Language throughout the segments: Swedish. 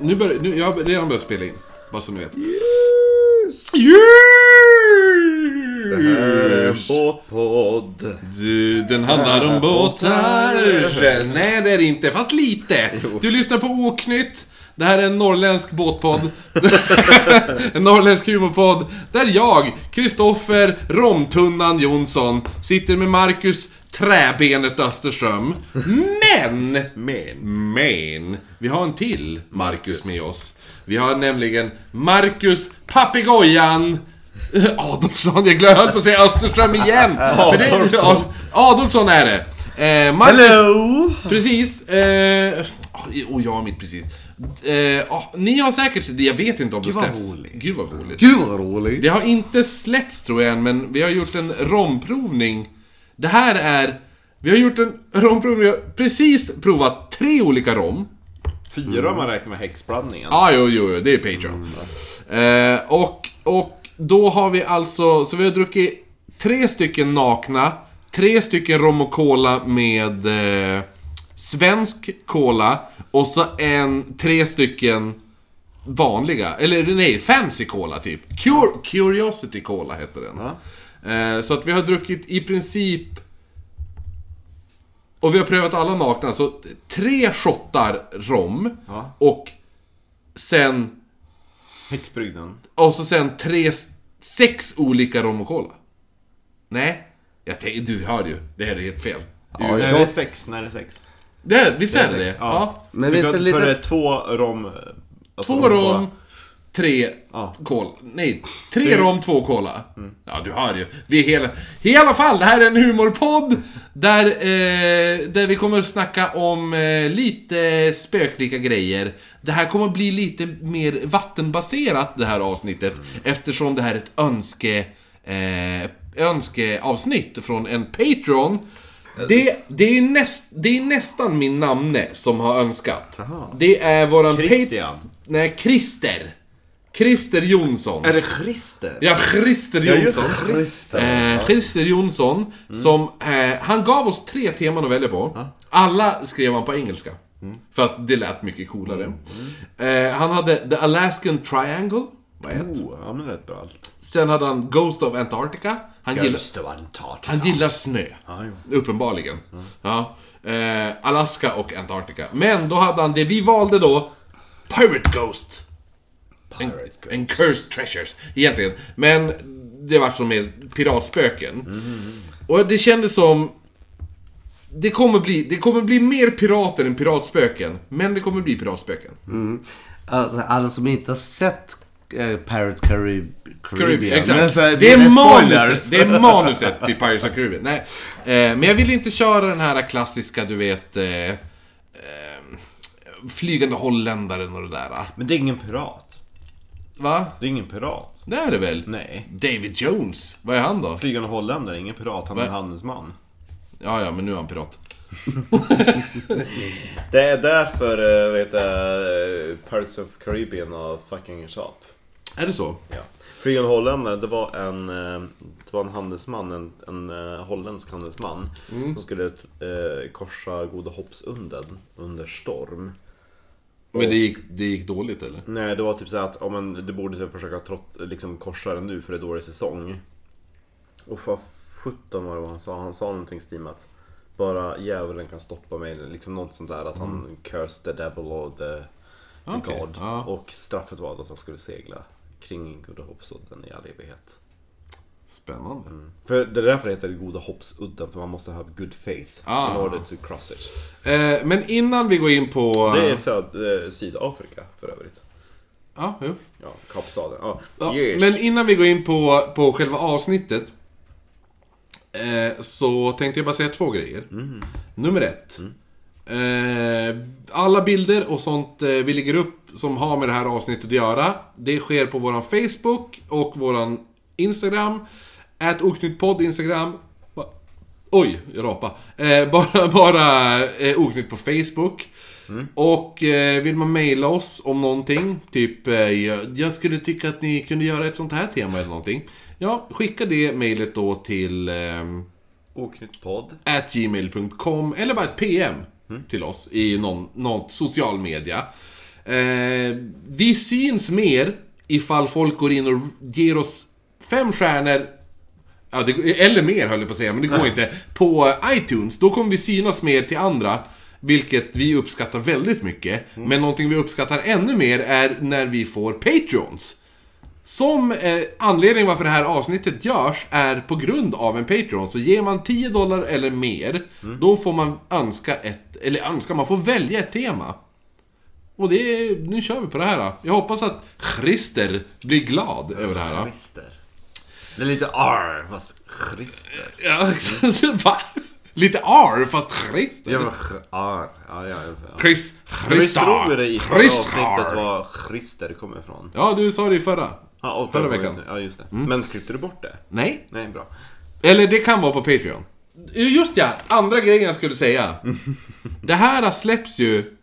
Nu börjar, nu, jag har redan börjat spela in. Bara så ni vet. Yes! Det här är en Yes! båtpodd. Du, den handlar om båtar. Nej, det är det inte. Fast lite. Du lyssnar på Oknytt. Det här är en norrländsk båtpodd. en norrländsk humorpodd. Där jag, Kristoffer Romtunnan Jonsson, sitter med Marcus Träbenet Österström. Men! Men. Men vi har en till Marcus med oss. Vi har nämligen Marcus Papegojan Adolfsson. Jag glömde- höll på att säga Österström igen. Men det- Adolfsson. Adolfsson är det. Eh, Marcus, Hello! Precis. Eh, och jag har mitt precis. Eh, ah, ni har säkert... Jag vet inte om det vad släpps. roligt. Gud vad roligt. Gud vad roligt. Det har inte släppts tror jag än, men vi har gjort en romprovning. Det här är... Vi har gjort en romprovning, vi har precis provat tre olika rom. Fyra om man räknar med häxblandningen. Ja, ah, jo, jo, jo, det är Patreon. Eh, och, och då har vi alltså, så vi har druckit tre stycken nakna, tre stycken rom och cola med eh, svensk cola och så en, tre stycken vanliga, eller nej, fancy cola typ. Cur- Curiosity cola heter den. Eh, så att vi har druckit i princip och vi har prövat alla nakna, så tre shottar rom Ja. och sen Häxbrygden. och så sen tre, sex olika rom och cola. Nej, jag tänk, du hör ju. Det här är helt fel. Ja, När det är jag... sex, när det är sex. Det, här- visst är det sex, det? Ja. ja. Men visst är För- det För det lite... är två rom... alltså Två rom, bara- tre Ja. cola. Nej, tre rom, två cola. Ja, du hör ju. Vi är hela... I alla fall, det här är en humorpodd där, eh, där vi kommer att snacka om eh, lite spöklika grejer. Det här kommer att bli lite mer vattenbaserat, det här avsnittet. Eftersom det här är ett önske... Eh, önskeavsnitt från en Patreon. Det, det, är näst, det är nästan min namne som har önskat. Det är våran Pat- Christian. Nej, Christer. Christer Jonsson. Är det Christer? Ja, Christer Ja, just Jonsson. det, Christer. Mm. Eh, Christer Jonsson, som... Eh, han gav oss tre teman att välja på. Alla skrev han på engelska. Mm. För att det lät mycket coolare. Eh, han hade The Alaskan Triangle. Var ett. Oh, ja men det är ett bra allt. Sen hade han Ghost of Antarctica. Han, gillar, det var Antarktis. han gillar snö. Ja, jo. Uppenbarligen. Ja. Eh, Alaska och Antarktika. Men då hade han det vi valde då, Pirate Ghost. En, en cursed treasures, egentligen. Men det var som med piratspöken. Och det kändes som... Det kommer, bli, det kommer bli mer pirater än piratspöken, men det kommer bli piratspöken. Mm, Alltså, alla som inte har sett eh, Pirate Carib... Caribbean. Caribbean. Men Exakt. så här, det, är spoilers. manuset, det är manuset till Pirates of Caribbean. Nej. Eh, men jag vill inte köra den här klassiska, du vet... Eh, eh, flygande holländaren och det där. Men det är ingen pirat. Va? Det är ingen pirat. Det är det väl? Nej. David Jones, vad är han då? Flygande holländare, ingen pirat. Han är en Va? handelsman. Ja, ja, men nu är han pirat. Det är därför, eh, vet du, Pirates of Caribbean har fucking shop. Är det så? Ja. Flygande holländare, det var en, eh, det var en handelsman, en, en eh, holländsk handelsman Mm. som skulle eh, korsa Goda Hoppsunden under storm. Men det gick, det gick dåligt eller? Nej, det var typ så här att ja, men, du borde typ försöka trott, liksom, korsa den nu för det är dålig säsong. Och vad sjutton var det vad han sa? Han sa någonting i stil med att bara djävulen kan stoppa mig. Liksom något sånt där att han cursed the devil och the, the Mm. Okej, God. ja. Och straffet var att han skulle segla kring Goda Hoppsudden i all evighet. Spännande. För det är därför det heter Goda Hoppsudden, för man måste ha good faith Ah. in order to cross it. Eh, men innan vi går in på... Det är söd, eh, Sydafrika för övrigt. Ja, jo. Ja, Kapstaden. Ja. Ja, Yes. Men innan vi går in på, på själva avsnittet eh, Så tänkte jag bara säga två grejer Mm. Nummer ett eh, Alla bilder och sånt eh, vi lägger upp som har med det här avsnittet att göra Det sker på våran Facebook och våran Instagram Ät oknyttpodd Instagram Ba- Oj, jag rapade. Eh, bara bara eh, oknytt på Facebook. Och eh, vill man mejla oss om någonting, typ eh, jag- jag skulle tycka att ni kunde göra ett sånt här tema eller någonting. Ja, skicka det mejlet då till ehm, Oknytt podd. at gmail.com eller bara ett PM till oss i någon, någon social media. Eh, Eh, vi syns mer ifall folk går in och ger oss fem stjärnor, ja, det, eller mer höll jag på att säga, men det går inte, på iTunes. Då kommer vi synas mer till andra, vilket vi uppskattar väldigt mycket. Men någonting vi uppskattar ännu mer är när vi får Patreons. Som eh, anledning varför det här avsnittet görs är på grund av en Patreon. Så ger man 10 dollar eller mer, då får man önska ett, eller önska, man får välja ett tema. Och det, är- nu kör vi på det här. då. Jag hoppas att Christer blir glad över det här. då. Christer. Det är lite R, fast Christer. Ja, va? Lite R, fast Christer. Ja, men R. Ja, ja, ja. Chris, Christer. Christer. det i förra avsnittet Christer. var Christer kommer ifrån. Ja, du sa det i förra. Ja, och Förra veckan. Mm. Ja, just det. Men klippte du bort det? Nej. Nej, bra. Eller det kan vara på Patreon. Just ja, andra grejen jag skulle säga. Det här släpps ju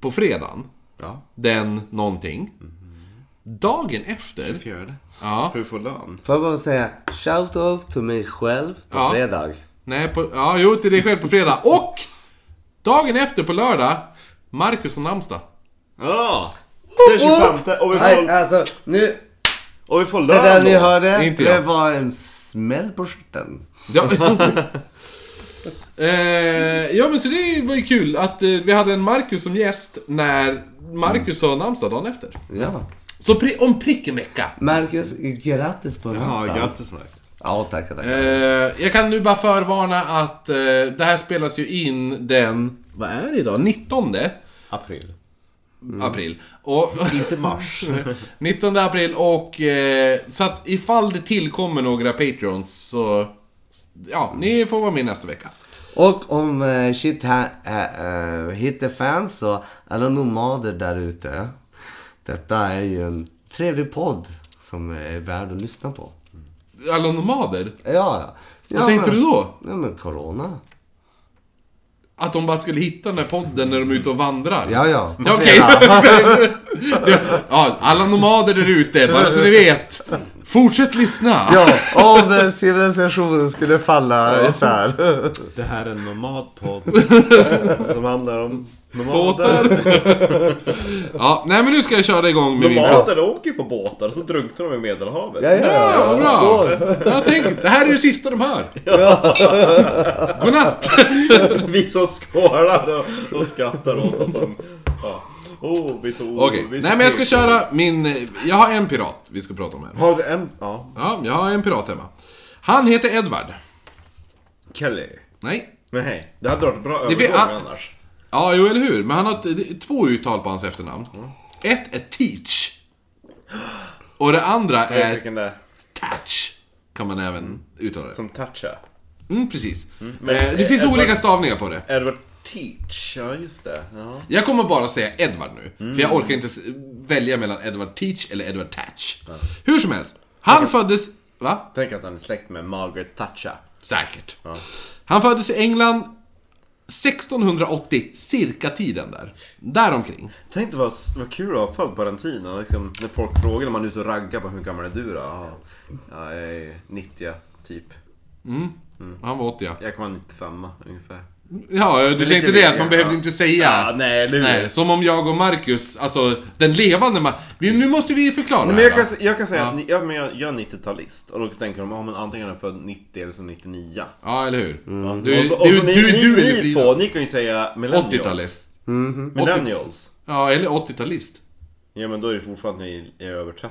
på fredagen. Ja. Den någonting. Dagen efter. Fjärde. Ja. För vi får lön. Får jag bara säga shout-out till mig själv på Ja. fredag. Nej, på, ja, jo, till dig själv på fredag. Och! Dagen efter på lördag. Marcus och namnsdag. Ja! Det är 25 och vi Nej, får, alltså nu... och vi får Det där lön ni då. Det hörde, är inte det jag. var en smäll på stjärten. Ja. eh, ja men så det var ju kul att eh, vi hade en Marcus som gäst när Marcus har namnsdag dagen efter. Ja. Så pri- om prick en vecka. Marcus, grattis på Ja, namnsdagen. grattis Marcus. Ja, tack, tack. Eh, jag kan nu bara förvarna att eh, det här spelas ju in den... Vad är det idag? 19 April. april. Och, Inte mars. 19 april och... Eh, så att ifall det tillkommer några Patreons så... Ja, ni får vara med nästa vecka. Och om eh, shit ha, eh, eh, hittar fans så, alla nomader där ute. Detta är ju en trevlig podd som är värd att lyssna på. Alla nomader? Ja, ja. ja Vad tänkte du då? Ja, men corona. Att de bara skulle hitta den här podden när de är ute och vandrar? Ja, ja. på Ja, okej. fredag. Ja, alla nomader där ute, bara så ni vet. Fortsätt lyssna! ja, om civilisationen skulle falla isär. Det här är en nomadpodd. som handlar om Båtar. Ja, nej men nu ska jag köra igång med min Nomader åker ju på båtar så drunknar de i Medelhavet. Ja, ja, Ja, ja. vad bra! Jag tänkte, det här är det sista de hör. Godnatt! Vi som skålar och, och skrattar åt att de... Ja. Oh, vi är så... Okej, vi är så nej men jag ska köra min... Jag har en pirat vi ska prata om här. Har du en... Ja. Ja, jag har en pirat hemma. Han heter Edvard. Kelly. Nej. Nej, det hade varit bra Det övergång fin- ah. annars. Ja, jo eller hur. Men han har t- två uttal på hans efternamn. Ett är Teach. Och det andra Jag är tycker det är Tatch. Kan man även uttala det. som Tatcha. Mm, precis. Mm. men- eh, det finns eh, olika stavningar på det. Edward Teach, ja just det. Ja. Jag kommer bara säga Edward nu, för Mm. jag orkar inte s- välja mellan Edward Teach eller Edward Tatch. Hur som helst, han föddes... Va? Tänk att han är släkt med Margaret Thatcher. Säkert. Han föddes i England 1680, cirka tiden där. Däromkring. Tänk dig vad, vad kul att vara född på den tiden. Liksom, när folk frågar när man är ute och raggar på hur gammal är du då? Ja, ja, jag är 90 typ. Mm. Han var 80 ja. Jag kommer vara 95 ungefär. Ja, du tänkte det, mer, att man ja. behövde inte säga. Ja, nej, eller hur? Nej, som om jag och Marcus, alltså den levande Mar- vi, Nu måste vi förklara Men det jag här, kan, va? jag kan säga att ni, ja, men jag, jag är 90-talist och då tänker de ah, men antingen är jag född 90 eller så 99. Ja, eller hur? Mm. och så, och så ni, ni, ni två, ni kan ju säga millennials. 80-talist. Millennials. Ja, eller 80-talist. Ja men då är det fortfarande att ni är över 30.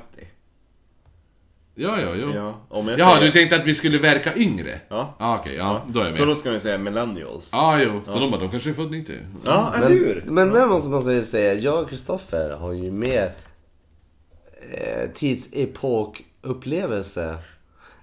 Ja, ja, ja. Ja, om jag Jaha, säger, du tänkte att vi skulle verka yngre? Ja. Ja, okej, ja, då är jag Så med. då ska ni säga millennials. Ja, jo. Så de bara, de kanske är född 90. Ja, eller Men, hur? men där måste man ju säga, jag och Kristoffer har ju mer eh, tidsepokupplevelse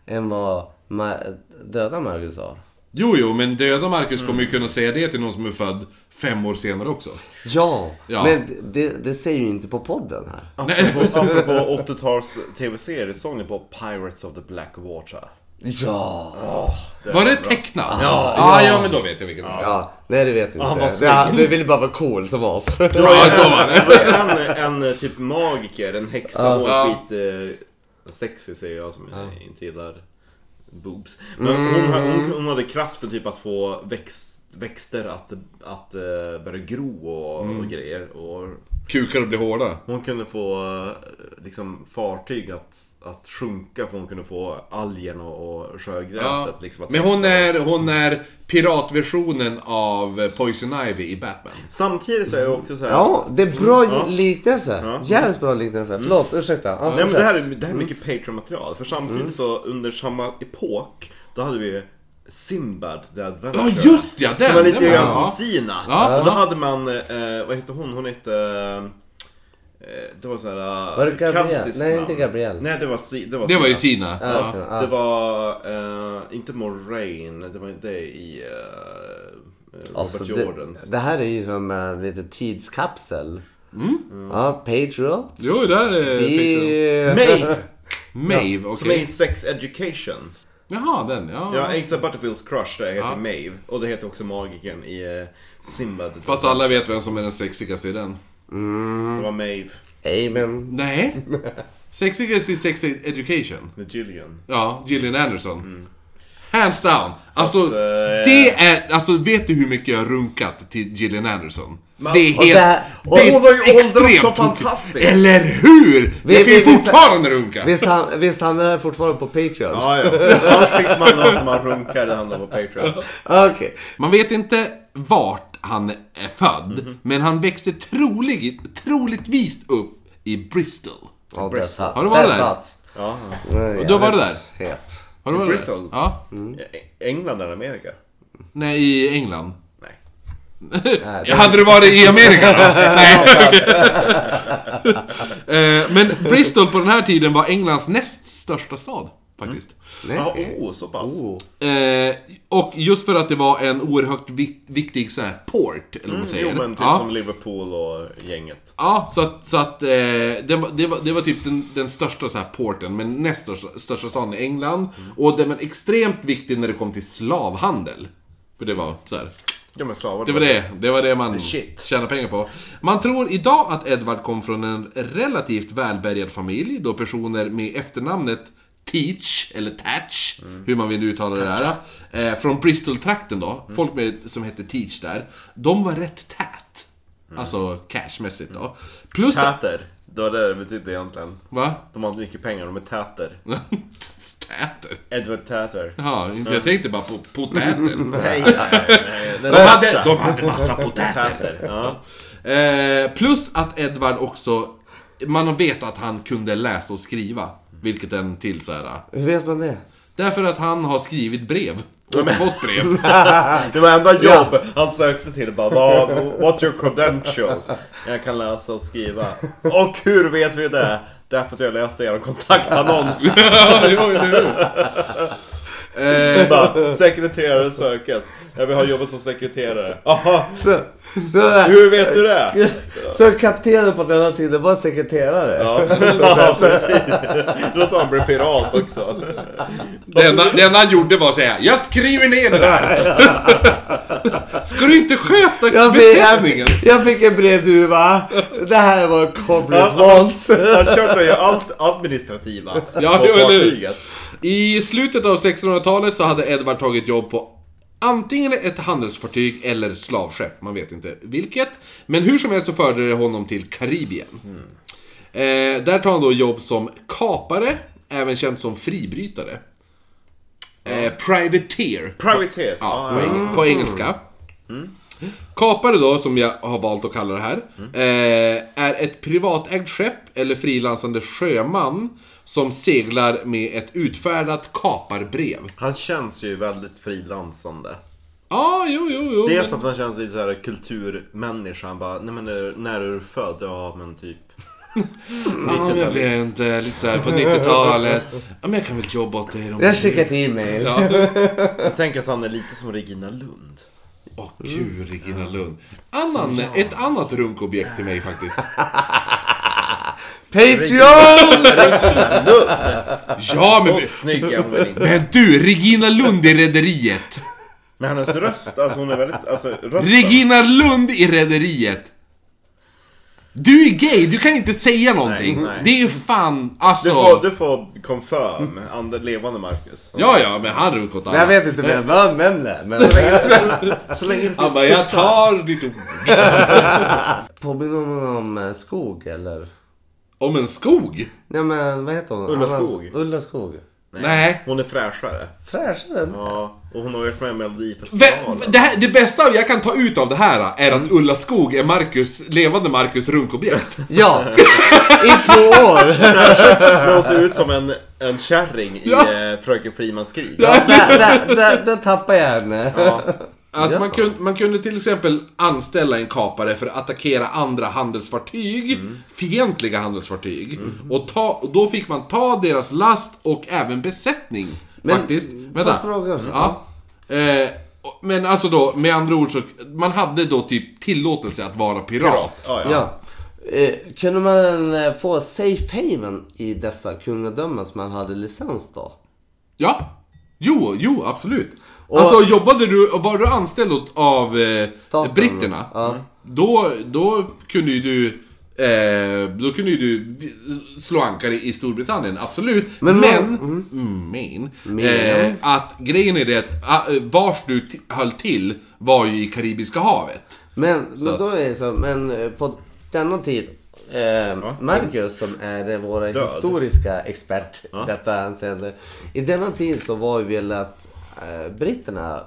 än vad ma- döda Marcus har. Jo, jo, men döda Marcus kommer Mm. ju kunna säga det till någon som är född fem år senare också. Ja, Ja. men det, det säger ju inte på podden här. Nej. Apropå, apropå 80-tals tv-serier, såg ni på Pirates of the Black Water? Ja! Var det tecknat? Ja. ja, ja, men då vet jag vilken det var. Ja, nej det vet jag han inte. var Det, han, vi ville bara vara cool som oss. Det var ju Ja, så en- var det. det var en, en typ magiker, en häxa och Ja. skit eh, sexy säger jag som inte gillar boobs. Men hon, hon, hon hade kraften typ att få växt växter att, att eh, börja gro och, och grejer. Och Kukar blir hårda. hon kunde få eh, liksom, fartyg att, att sjunka för hon kunde få algen och, och sjögräset. Ja. Liksom, att Men hon eh, växa. är, hon är piratversionen av Poison Ivy i Batman. Samtidigt så är jag också så här... Ja, det är bra Ja. liknelse. Ja. Mm. Jävligt bra liknelse. Förlåt, ursäkta. Ja, Nej men fortsätt. det här, är- det här är mycket Mm. Patreon-material. För samtidigt så under samma epok, då hade vi Sinbad the Adventure. Ja, just ja, den, Som var lite den grann var- som ja. Sina. Ja. Och då hade man, eh, vad hette hon? Hon hette... eh, Det var såhär... Var det Gabrielle? Nej, inte Gabrielle. Nej, det var, si, det var Det var ju Sina. Sina. Ja, Ja. så, ja. Det var eh, inte Moraine, det var inte det i eh, Robert Alltså, det, Jordans. det här är ju som en liten tidskapsel. Mm. Ja, Patriot. Jo, där är Patreon. Vi... Maeve! Maeve, Som är okej. i Sex Education. Jaha, den. Ja. Ja, eh, Asa Butterfields crush där heter Mm. Ja. Maeve. Och det heter också magiken i eh, Sinbad. Fast alla vet vem som är den sexigaste i den. Det var Maeve. Amen. Nej. Sexigast i Sex Education. Med Jillian. Ja, Gillian Anderson. Hands down. Alltså, Fast, eh, det är... Alltså, vet du hur mycket jag har runkat till Gillian Anderson? Men- det är och helt... det här- och det är hon har ju åldrats extremt så tokigt. fantastiskt. Eller hur? Vi- jag kan ju vi- vi- fortfarande runka. Visst, han, visst handlar det här fortfarande på Patreon? Ja, ja. Allting som handlar om när man runkar, det handlar om Patreon. Okej. Man vet inte vart han är född, Mhm. men han växte trolig, troligtvis upp i Bristol. Ja, där satt- Har du varit där? satt. Ja. Nej, Och då var du jävligt där? Het. Har du I varit där? Bristol? Ja. E- England eller Amerika? Nej, i England. Nej. det- Hade du varit i Amerika då? Nej. Eh, Men Bristol på den här tiden var Englands näst största stad, faktiskt. Nej. Ja, oh, så pass. Oh. Eh, och just för att det var en oerhört vik- viktig sån här port, eller vad man säger. Jo men typ ja. som Liverpool och gänget. Ja, så att, så att eh, det, var, det, var, det var typ den, den största så här porten, men näst största, största staden i England. Och den var extremt viktig när det kom till slavhandel. För det var så här. Ja men slavar. Det var det, det var det man Shit. tjänade pengar på. Man tror idag att Edward kom från en relativt välbärgad familj, då personer med efternamnet Teach, eller Tatch, Mm. hur man vill uttala det där. Eh, från Bristol-trakten då, Mm. folk med, som hette Teach där, de var rätt tät. Mm. Alltså cashmässigt då. Plus... Täter. Det var det det betydde egentligen. Va? De har inte mycket pengar, de är täter. Täter? Edward Täter. Jaha, inte- jag tänkte bara på potäter. Nej, nej, nej. De hade, de hade massa potäter. Täter. Ja. Eh, plus att Edvard också... Man vet att han kunde läsa och skriva. Vilket är en till så här. Hur vet man det? Därför att han har skrivit brev. Och fått brev. Det var enda jobb han sökte till bara vad, What your credentials? Jag kan läsa och skriva Och hur vet vi det? Därför att jag läste er kontaktannons Ja, jo, eller hur? bara, Sekreterare sökes Jag vill ha jobbet som sekreterare Aha, Så, så, hur vet du det? så kaptenen på denna tiden var sekreterare? Ja, ja precis Då sa han blev pirat också det, enda, det enda han gjorde var att säga Jag skriver ner det där! Ska du inte sköta Jag fick, besättningen? jag, jag fick en brevduva. Det här var corporate wants. Han körde ju allt administrativa Ja, på jo, eller hur? fartyget I slutet av 1600-talet så hade Edvard tagit jobb på antingen ett handelsfartyg eller slavskepp. Man vet inte vilket. Men hur som helst så förde det honom till Karibien. Eh, där tar han då jobb som kapare, även känd som fribrytare. Eh, privateer. Privateer Ja, på, eng- på engelska. Kapare då, som jag har valt att kalla det här, eh, är ett privatägt skepp eller frilansande sjöman som seglar med ett utfärdat kaparbrev. Han känns ju väldigt frilansande Ja, jo, jo, jo. Dels men- att man känns lite såhär kulturmänniska, han bara, nej men eh, när är du född? Ja men typ... Ja, men jag 90-talist. vet inte. Lite såhär på 90-talet. Ja, men jag kan väl jobba åt dig. Jag skickade ett e-mail. Ja. Jag tänker att han är lite som Regina Lund. Åh gud, Regina Lund. Annan, ett annat runkobjekt till mig faktiskt. Patreon! Ja, men, Så snygg är hon väl inte? men du, Regina Lund i Rederiet. Men hennes röst, alltså hon är väldigt, alltså rösten. Regina Lund i Rederiet. Du är gay, du kan inte säga någonting. nej. Det är ju fan, Du alltså... får, du får confirm, andre, levande Marcus. Ja, ja, men han runkar åt alla. Jag vet inte vad jag vad jag nämner. Men så länge, så, Alltså, så länge det Han finns bara, jag tuttar. tar ditt ord. Påminner hon om eh, skog eller? Om en skog? Nej men vad heter hon? Ulla Anna- Skog. Ulla Skog. Nej. Hon är fräschare. Fräschare. Ja, och hon har varit med i Melodifestivalen. Vä- Det, här, det bästa jag kan ta ut av det här är Mm. att Ulla Skog är Marcus, levande Marcus runkobjekt. Ja! I två år! När hon ser ut som en, en kärring i Ja. eh, Fröken Frimans skrig. där, där, där, där tappar jag henne. Ja. Alltså Ja. man, kunde, man kunde till exempel anställa en kapare för att attackera andra handelsfartyg, Mm. fientliga handelsfartyg. Och, ta, och då fick man ta deras last och även besättning. Men, faktiskt. får Vänta. jag fråga? Ja. Eh, och- men alltså då, med andra ord så, man hade då typ tillåtelse att vara pirat. Ja, ja. Ja. Eh, kunde man eh, få safe haven i dessa kungadömen som man hade licens då? Ja. Jo, jo, absolut. Och- alltså jobbade du, var du anställd åt- av eh, Staten. britterna? Ja. Då, då kunde ju du... Eh, då kunde ju du vi- slå ankare i Storbritannien, absolut. Men... Men- Men... Mm, men, Men. Eh, att grejen är det att ah, eh, vars du t- höll till var ju i Karibiska havet. Men, Så men då är det så, men eh, på denna tid Eh, Marcus som är eh, vår Död. historiska expert i detta anseende. I denna tid så var ju väl att eh, britterna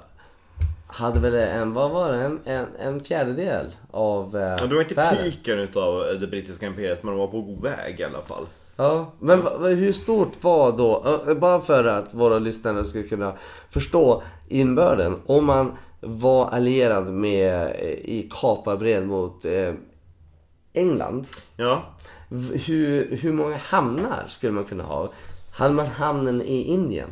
hade väl en, vad var det, en, en, en fjärdedel av eh, Men det var inte världen. piken utav eh, det brittiska imperiet, men de var på god väg i alla fall. Ja, men va- va- hur stort var då, ö- ö, bara för att våra lyssnare ska kunna förstå inbörden, om man var allierad med eh, i kaparbrev mot eh, England. Ja, v- Hur, hur många hamnar skulle man kunna ha? Hade man hamnen i Indien?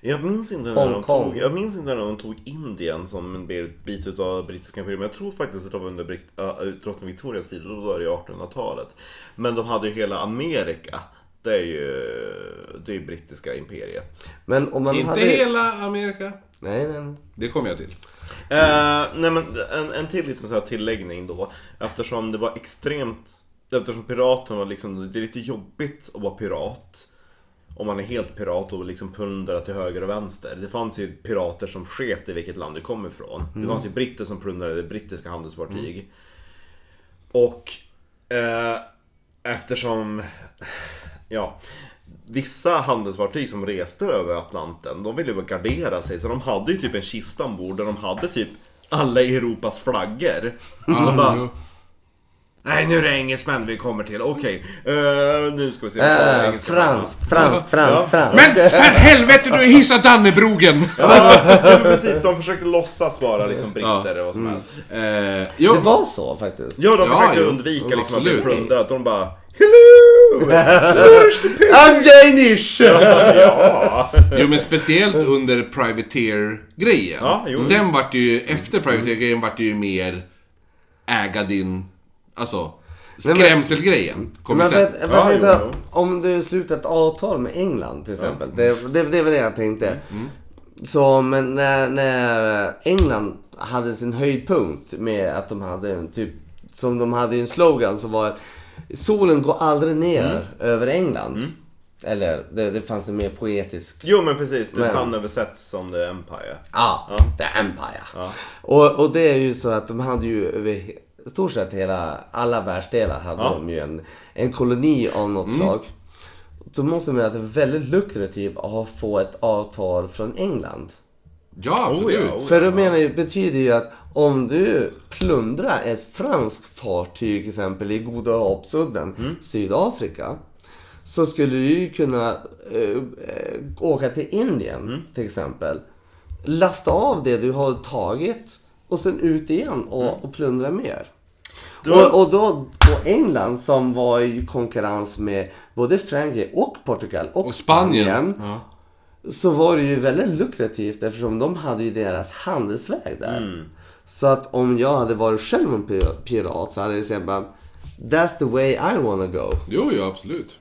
Jag minns inte när de Hongkong. tog, jag minns inte när de tog Indien som en bit- bit utav brittiska imperiet. Men jag tror faktiskt att det var under britt, äh, drottning Victorias tid, och då var det ju 1800-talet. Men de hade ju hela Amerika. Det är ju, det är ju brittiska imperiet. Men om man Inte hade... hela Amerika. Nej, nej, nej. Det kommer jag till. Eh, nej men en, en till liten så här tilläggning då. Eftersom det var extremt, eftersom piraten var liksom, det är lite jobbigt att vara pirat. Om man är helt pirat och liksom plundrar till höger och vänster. Det fanns ju pirater som sket i vilket land du kom ifrån. Det fanns ju britter som plundrade brittiska handelsfartyg. Och eh, eftersom, ja, vissa handelsfartyg som reste över Atlanten, de ville ju gardera sig. Så de hade ju typ en kista ombord där de hade typ alla Europas flaggor. De bara, Nej nu är det engelsmän vi kommer till, okej. eh, nu ska vi se. Äh, fransk, fransk, fransk, fransk. Men för helvete, du har hissat Dannebrogen! Ja, men precis, de försökte låtsas vara liksom britter eller vad som helst. Eh, jo, Det var så faktiskt. Ja, de Mm. Ja, försökte jo. undvika liksom att bli Absolut. plundrade. De bara Hello! Flourish the people! I'm Danish! Ja. Jo men speciellt under Privateer-grejen. Ja, jo. Sen vart det ju, efter Privateer-grejen vart det ju mer äga din, alltså skrämselgrejen. Kommer Men sen. jag vet, jag Ja, vet jo, inte, jo. om du sluter ett avtal med England till exempel. Det, det, det var det jag tänkte. Mm, Så, men när, när England hade sin höjdpunkt med att de hade en typ, som de hade i en slogan som var Solen går aldrig ner Mm. över England. Eller det, det fanns en mer poetisk Jo men precis, The Men- Sun översätts som The Empire. Ja, The Empire. Och, och det är ju så att de hade ju över he- stort sett hela, alla världsdelar hade Ja. de ju en, en koloni av något slag. Då måste man säga att det är väldigt lukrativt att ha- få ett avtal från England. Ja, absolut. Oh ja, oh För det menar ju, betyder ju att om du plundrar ett franskt fartyg till exempel i Goda Hoppsudden, Mm. Sydafrika. Så skulle du ju kunna eh, eh, åka till Indien Mm. till exempel. Lasta av det du har tagit och sen ut igen och, Mm. och plundra mer. Då- Och, och då på England som var i konkurrens med både Frankrike och Portugal och, Och Spanien. Spanien Ja. så var det ju väldigt lukrativt eftersom de hade ju deras handelsväg där. Mm. Så att om jag hade varit själv en pir- pirat så hade jag sagt bara That's the way I wanna go. Jo, ja, absolut.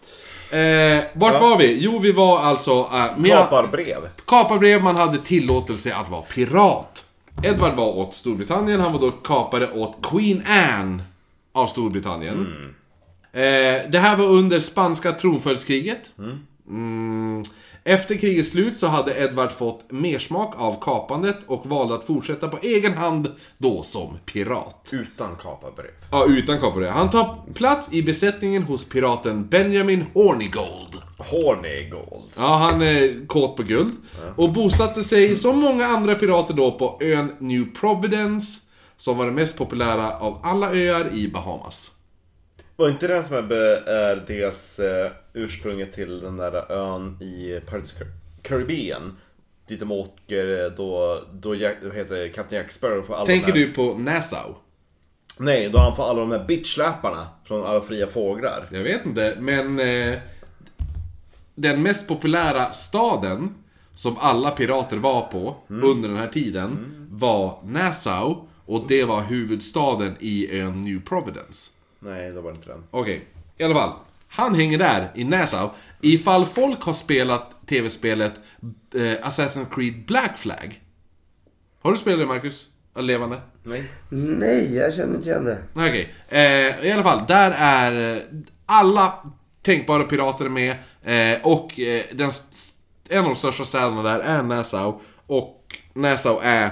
Eh, vart Ja. var vi? Jo, vi var alltså... Eh, med- Kaparbrev. kaparbrev, man hade tillåtelse att vara pirat. Edward var åt Storbritannien, han var då kapare åt Queen Anne av Storbritannien. Eh, det här var under spanska tronföljdskriget. Mm. Efter krigets slut så hade Edvard fått mersmak av kapandet och valde att fortsätta på egen hand då som pirat. Utan kaparbrev. Ja, utan kapare. Han tar plats i besättningen hos piraten Benjamin Hornigold. Horny gold. Ja, han är kåt på guld. Och bosatte sig, som många andra pirater då, på ön New Providence. Som var den mest populära av alla öar i Bahamas. Var inte den som är, be- är dels eh, ursprunget till den där ön i Paradise Car- Caribbean? Dit de åker eh, då, då, Jack, då heter det Captain Jack Sparrow får alla Tänker de här, du på Nassau? Nej, då han får alla de här bitchläparna från alla fria fåglar. Jag vet inte, men... Eh, den mest populära staden som alla pirater var på under den här tiden var Nassau. Och det var huvudstaden i ön New Providence. Nej, då var det inte den. Okej, i alla fall. Han hänger där i Nassau. Ifall folk har spelat tv-spelet eh, Assassin's Creed Black Flag. Har du spelat det Marcus? Levande? Nej. Nej, jag känner inte igen det. Nej, Okej. Eh, I alla fall, där är eh, alla tänkbara pirater med. Eh, och eh, den, st- en av de största städerna där är Nassau. Och Nassau är...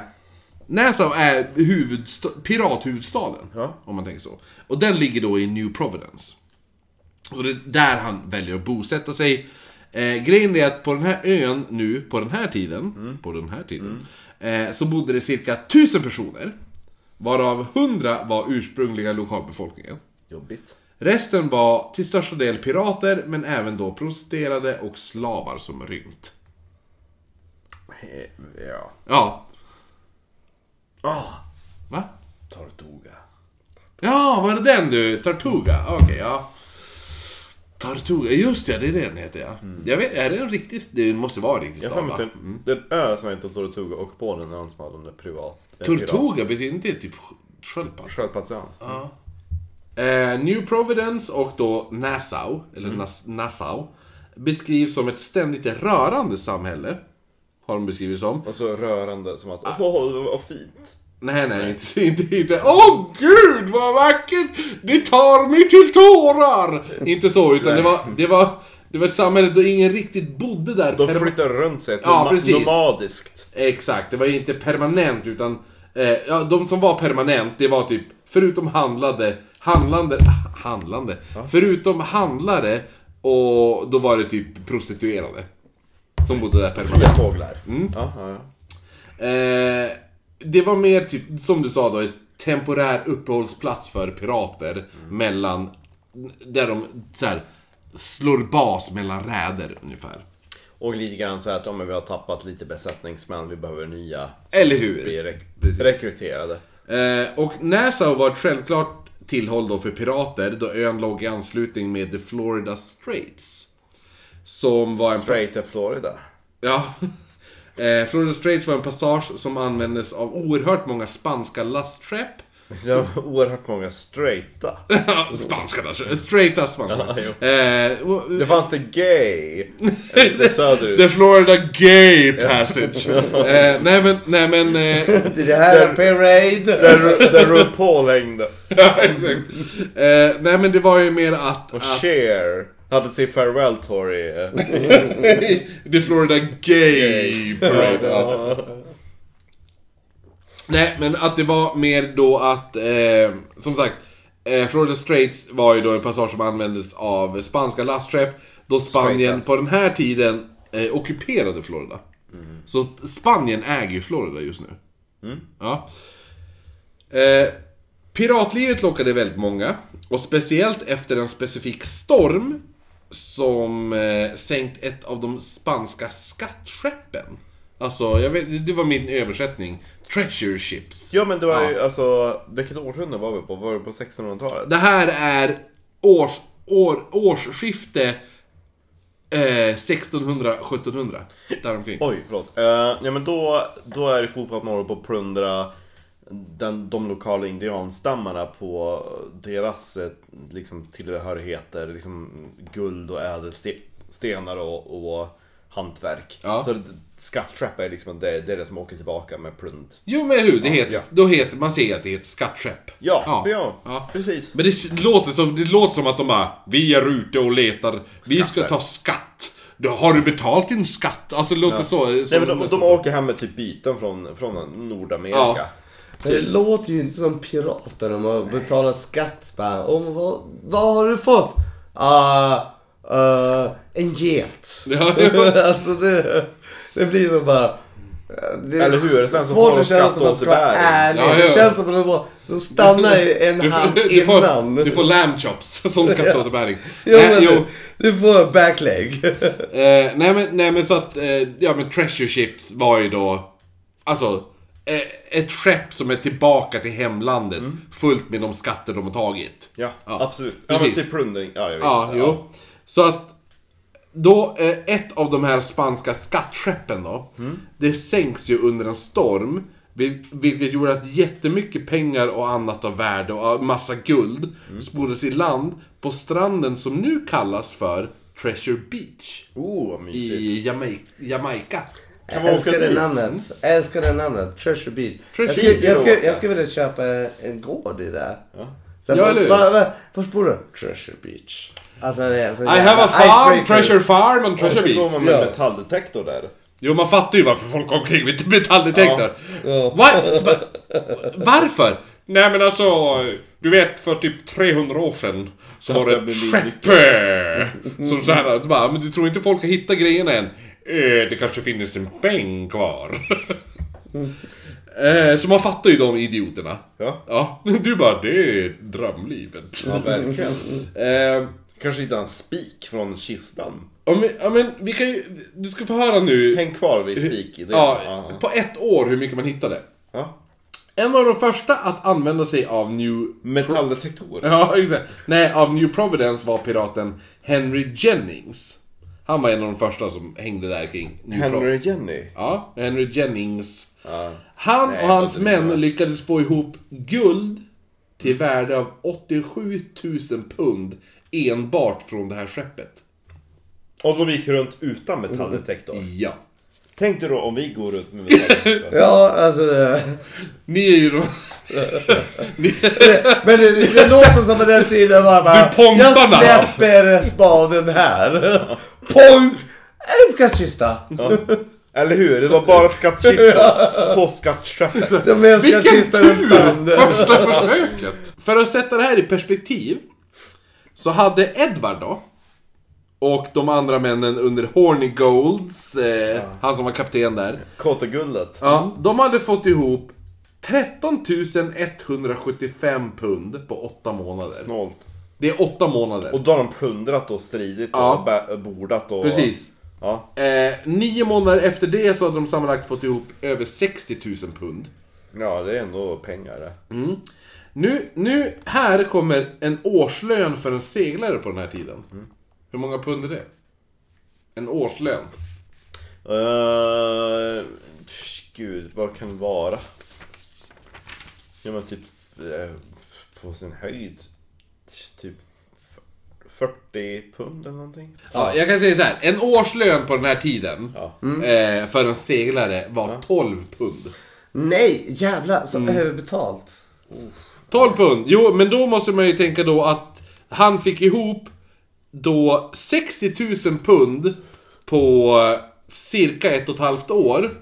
Nassau är huvudsta, pirathuvudstaden. Ja. Om man tänker så. Och den ligger då i New Providence. Och det är där han väljer att bosätta sig. Eh, grejen är att på den här ön nu, på den här tiden, Mm. på den här tiden eh, så bodde det cirka 1000 personer. Varav 100 var ursprungliga lokalbefolkningen. Jobbigt. Resten var till största del pirater, men även då prostituerade och slavar som rymt. Eh, Ja. Ja, Ah! va? Tortuga. Ja, var det den du? Tortuga? Okej, ja. Tortuga, just ja, det är det den heter ja. Jag vet, är det en riktig... Det måste vara en riktig Mm. Jag stad har för mig va? att den- den ö som heter Tortuga och på den ön som hade den där privat... eh, pirat- Tortuga, betyder inte det typ sk- sköldpadda? Sköldpaddsön. Eh, New Providence och då Nassau, eller Nas- Nassau, beskrivs som ett ständigt rörande samhälle. Har de beskrivit som. Och så rörande som att åh, vad- vad fint. Nej, nej, inte... inte, inte. Åh gud vad vackert! Det tar mig till tårar! Inte så, utan det var, det var... Det var ett samhälle då ingen riktigt bodde där. De perma- flyttar runt sig Ja, noma- precis. nomadiskt. Exakt, det var ju inte permanent utan... Eh, ja, de som var permanent, det var typ... Förutom handlade... Handlande... Handlande? Förutom handlare och då var det typ prostituerade. Som bodde där permanent. Fria fåglar. Ja, ja, ja. Eh, det var mer typ, som du sa då, ett temporär uppehållsplats för pirater mellan... Där de så här, slår bas mellan räder ungefär. Och lite grann så här att ja, men vi har tappat lite besättningsmän, vi behöver nya. Eller hur? Vi är rek- Precis. rekryterade. Eh, och Nassau var ett självklart tillhåll då för pirater då ön låg i anslutning med the Florida Straits. Som var en... Straight to Florida. Ja. Eh, Florida Straits var en passage som användes av oerhört många spanska lastskepp. Det var oerhört många straighta. spanska lastskepp. Eh, Straighta spanska. Eh, och- Det fanns det gay. Lite the söderut. Florida Gay Passage. eh, nej men, nej men... Eh, Det är det här är parade! Där, Ru- där RuPaul hängde. ja, exakt. Eh, nej men det var ju mer att... Och att Cher hade sin farewell tour i... eh, the Florida Gay Parade. Ja. Nej, men att det var mer då att, eh, som sagt, eh, Florida Straits var ju då en passage som användes av spanska lastskepp då Spanien Straighta. på den här tiden eh, ockuperade Florida. Så Spanien äger ju Florida just nu. Ja. Eh, piratlivet lockade väldigt många och speciellt efter en specifik storm som eh, sänkt ett av de spanska skattskeppen. Alltså, jag vet, det var min översättning. Treasure ships. Ja men det var ju alltså, vilket århundrade var vi på? Var vi på 1600-talet? Det här är års, år, årsskifte eh, 1600-1700. Däromkring. Oj, förlåt. Eh, ja men då, då är det fortfarande man håller på att plundra den, de lokala indianstammarna på deras eh, liksom, tillhörigheter. Liksom guld och ädelstenar och, och hantverk. Ja. Så skattrap är liksom det, det är det som åker tillbaka med plund. Jo men hur, det heter, ja. då heter, man ser att det är ett skattskepp. Ja, Ja. ja, Ja. precis. Men det låter, som, det låter som att de bara Vi är ute och letar, vi ska Skatter. ta skatt. Då har du betalt din skatt? Alltså det låter så. Nej, Som, men de, de åker hem med typ byten från, från Nordamerika. Ja. Det Typ. låter ju inte som pirater om att betala skatt bara. Om, vad, vad har du fått? Ah, eh, en get. Ja, ja. alltså det, det blir som bara... Det Eller hur? Sen så får svårt de att känna som att man ska vara skatteåterbäring. ärlig. Ja, Det ja. känns som att de bara- de stannar i en Du får- hand du får- innan. Du får lamb chops som skatteåterbäring. jo, Nej, men jo, du, du får backleg. Eh, nej, men, nej men så att, eh, ja men Treasure Ships var ju då, alltså, eh, ett skepp som är tillbaka till hemlandet fullt med de skatter de har tagit. Mm. Ja, Ja, absolut. Ja, men precis. typ plundring. Ja, jag vet Ja, inte. jo. Så att, då, eh, ett av de här spanska skattskeppen då, det sänks ju under en storm. vil- Vilket gjorde att jättemycket pengar och annat av värde och eh, massa guld spolades i land på stranden som nu kallas för Treasure Beach Oh, vad mysigt. i Jamaica. Jamaica. Kan Jag man älskar åka det dit? namnet. Jag älskar det namnet. Treasure Beach. Treasure jag, skulle, Beach jag, är skulle, bra. jag skulle vilja köpa en gård i det. Sen Ja, bara, eller hur? va, va, Vart bor du? Treasure Beach. Alltså, det är en sån I have a jävla farm, icebreaker. treasure farm and Och så treasure går beach. man med Ja. metalldetektor där. Jo, man fattar ju varför folk går omkring med metalldetektor. Ja. What? Varför? Nej men alltså, du vet för typ 300 år sedan så var det jag ett blir skepp eh, som såhär, så bara, men du tror inte folk har hittat grejerna än? Eh, det kanske finns en bänk kvar. Eh, Så man fattar ju de idioterna. Ja. Ja, du bara, det är drömlivet. Ja, verkligen. Eh, Kanske hitta en spik från kistan. Ja men, ja men vi kan ju, du ska få höra nu. Häng kvar vid spik. i Det. ja, på ett år hur mycket man hittade. ja. En av de första att använda sig av New... Metalldetektor. Ja, exakt. Nej, av New Providence var piraten Henry Jennings. Han var en av de första som hängde där kring New Pro- Henry Jenny. Ja, Henry Jennings. Ja. Han Nej, och hans det var män inte bra. lyckades få ihop guld till värde av 87 000 pund enbart från det här skeppet. Och de gick runt utan metalldetektor. Ja. Tänk dig då om vi går runt med metalldetektor. Ja, alltså. det- Ni är ju de... Men det, det låter som på den tiden bara, bara Du pontarna! Jag släpper spaden här. Pong! Eller skattkista. Eller hur? Det var bara skattkista på skattskeppet. Som en Vilken skattkista i en sand. tur! Första försöket! För att sätta det här i perspektiv så hade Edvard då och de andra männen under Horny Golds, eh, han som var kapten där. Kåta guldet. Ja, de hade fått ihop 13 175 pund på åtta månader. Snålt. Det är åtta månader. Och då har de plundrat och stridit och Ja. bä- bordat och... Precis. Ja. Eh, nio månader efter det så hade de sammanlagt fått ihop över 60 000 pund. ja, det är ändå pengar det. Nu, nu, här kommer en årslön för en seglare på den här tiden. Hur många pund är det? En årslön. Eh, gud, vad kan det vara? Ja men typ eh, på sin höjd typ f- 40 pund eller någonting. Ja, jag kan säga så här. En årslön på den här tiden Ja. eh, för en seglare var 12 pund. Nej, jävlar. Så Mm. överbetalt. 12 pund! Jo, men då måste man ju tänka då att han fick ihop då 60 000 pund på eh, cirka ett och ett halvt år.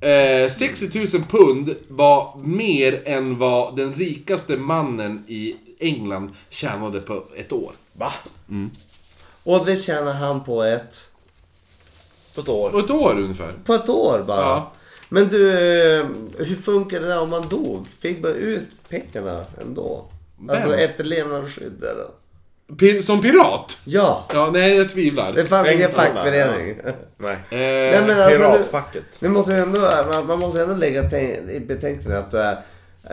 Eh, 60 000 pund var mer än vad den rikaste mannen i England tjänade på ett år. Va? Och det tjänar han på ett... På ett år? På ett år ungefär. På ett år bara. Ja. Men du, eh, hur funkar det där om man dog? Fick man ut pengarna ändå? Alltså Vem? efterlevnadsskydd eller? Pir- som pirat? Ja, Ja, nej jag tvivlar. Alltså, det fanns ingen Pengarna, fackförening. Nej. Eh, Nej, men alltså, Piratfacket. nu, nu måste vi ändå, man, man måste ändå lägga tänk- i betänkande att eh,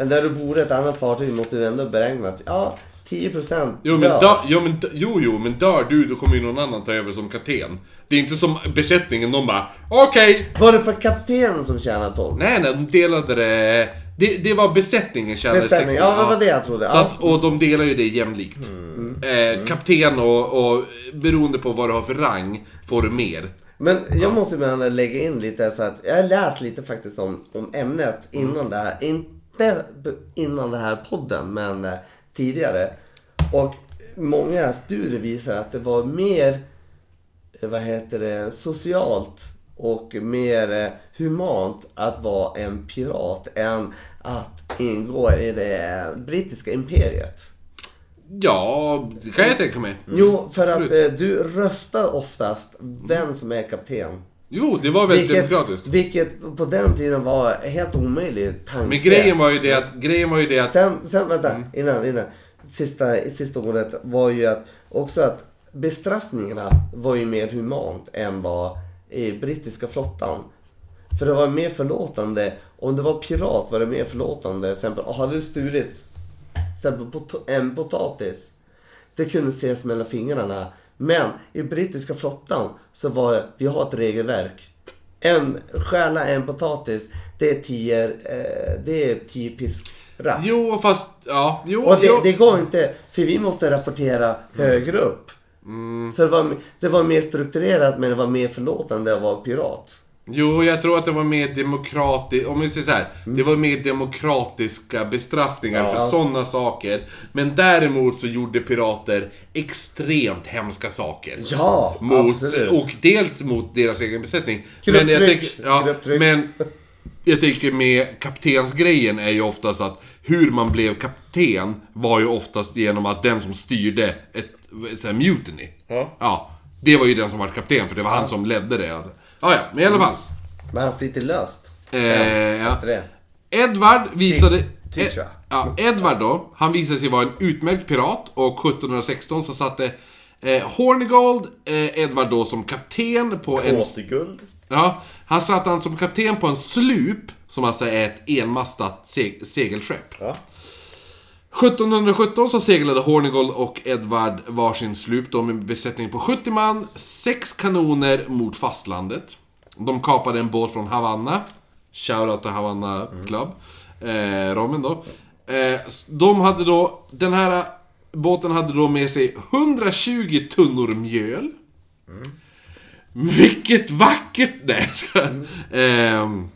när du bor i ett annat fartyg måste du ändå beräkna att ja, 10% Jo men, dör. dö, jo, men, dö- jo, jo, men dör du, då kommer ju någon annan ta över som kapten. Det är inte som besättningen, de bara okej. Var det på kaptenen som tjänade 12? Nej, nej, de delade det. Det, det var besättningen tjänade Bestämning. 16, Ja, det var det jag trodde. Så Ja. Mm. att, och de delar ju det jämlikt. Eh, kapten och, och beroende på vad du har för rang får du mer. Men jag måste ju ändå lägga in lite så att jag har läst lite faktiskt om, om ämnet innan det här. Inte b- innan det här podden, men eh, tidigare. Och många studier visar att det var mer, eh, vad heter det, socialt och mer eh, humant att vara en pirat än att ingå i det eh, brittiska imperiet. Ja, det kan jag tänka mig. Jo, för att absolut. eh, du röstar oftast vem som är kapten. Jo, det var väldigt demokratiskt. vilket på den tiden var helt omöjlig tanke. Men grejen var ju det att... Grejen var ju det att... Mm. Sen, sen vänta, innan, innan. Sista, sista ordet var ju att också att bestraffningarna var ju mer humant än vad i brittiska flottan. För det var mer förlåtande. Om det var pirat var det mer förlåtande. Till exempel, "Ah, hade du stulit till exempel pot- en potatis. Det kunde ses mellan fingrarna. Men i brittiska flottan så var det, vi har ett regelverk. En stjäla en potatis, det är tio, eh, det är tio piskrapp. Jo, fast... Ja, jo, Och det, jo. det går inte, för vi måste rapportera högre upp. Mm. Så det var, det var mer strukturerat men det var mer förlåtande att vara pirat. Jo, jag tror att det var mer demokratiskt... Om vi säger så här, Mm. Det var mer demokratiska bestraffningar för sådana saker. Men däremot så gjorde pirater extremt hemska saker. Ja, mot, absolut. och dels mot deras egen besättning. men, jag Grupptryck, tänker- ja, grupptryck. men jag tänker med kaptensgrejen är ju oftast att hur man blev kapten var ju oftast genom att den som styrde ett, ett så här mutiny. Ja. Det var ju den som var kapten för det var han som ledde det. Ja, ja, men i alla fall. Men han sitter löst. Eh, ja. Efter det. Edvard visade... Teacher. Eh, Ja, Edvard då, han visade sig vara en utmärkt pirat och 1716 så satte eh, Hornigold eh, Edvard då som kapten på en... Återguld. Ja, han satte han som kapten på en slup som alltså är ett enmastat seg- segelskepp. Ja. 1717 så seglade Hornigold och Edvard varsin slup då med en besättning på 70 man, sex kanoner mot fastlandet. De kapade en båt från Havanna. Shoutout till Havanna Club. Eh, Rommen då. Eh, s- de hade då, den här båten hade då med sig 120 tunnor mjöl. Vilket vackert! Nej, så, ehm,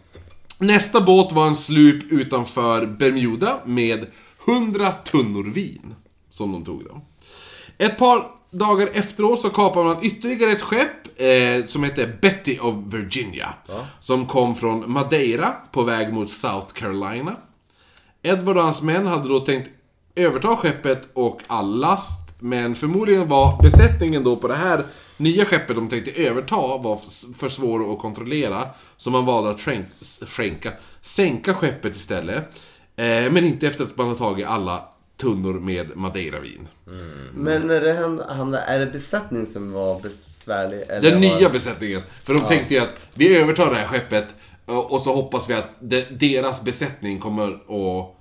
Nästa båt var en slup utanför Bermuda med 100 tunnor vin. Som de tog då. Ett par dagar efteråt så kapade man ytterligare ett skepp eh, som hette Betty of Virginia. Som kom från Madeira på väg mot South Carolina. Edward och hans män hade då tänkt överta skeppet och all last. Men förmodligen var besättningen då på det här nya skeppet de tänkte överta var f- för svår att kontrollera. Så man valde att skänk, skänka, sänka skeppet istället. Eh, men inte efter att man har tagit alla tunnor med madeiravin. Men när det hände, hamnade, är det besättning som var besvärlig? Eller Den var... nya besättningen. För de tänkte ju att vi övertar det här skeppet och och så hoppas vi att de, deras besättning kommer att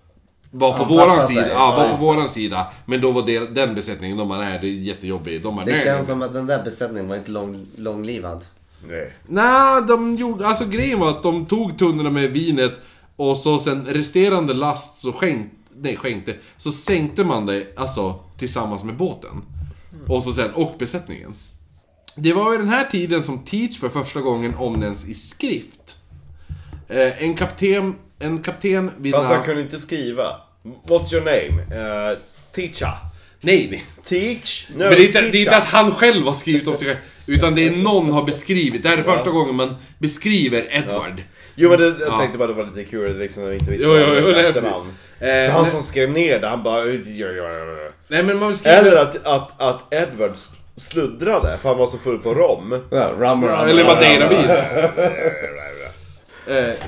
vara på Anpassa våran sig. sida. Ja, Ja, vara just på våran sida. Men då var det, den besättningen, de bara nej, det är jättejobbigt. De bara, Det nej. känns som att den där besättningen var inte lång, långlivad. Nej. Nej, de gjorde... Alltså grejen var att de tog tunnorna med vinet och så sen resterande last så skänkte... Nej, skänkte. Så sänkte man det, alltså tillsammans med båten. Och så sen, och besättningen. Det var vid den här tiden som Teach för första gången omnämns i skrift. Eh, en kapten... En kapten vid Fast namn... han Alltså, kunde inte skriva. What's your name? Uh, teacher. Nej, nej. Teach? No, Men det är, inte, det är inte teacher. att han själv har skrivit om sig själv, utan det är någon har beskrivit. Det här är första gången man beskriver Edward. Jo men det, jag tänkte bara det var lite kul liksom när vi inte visste Jo, jo, jo, vad nej, efternamn. precis. Eh, han nej. som skrev ner det, han bara... "Ja, ja, ja, ja." Nej, men man beskriver... Eller att, att, att Edward s- sluddrade för han var så full på rom. Ja, rummer, Ja, eller Madeira-vin.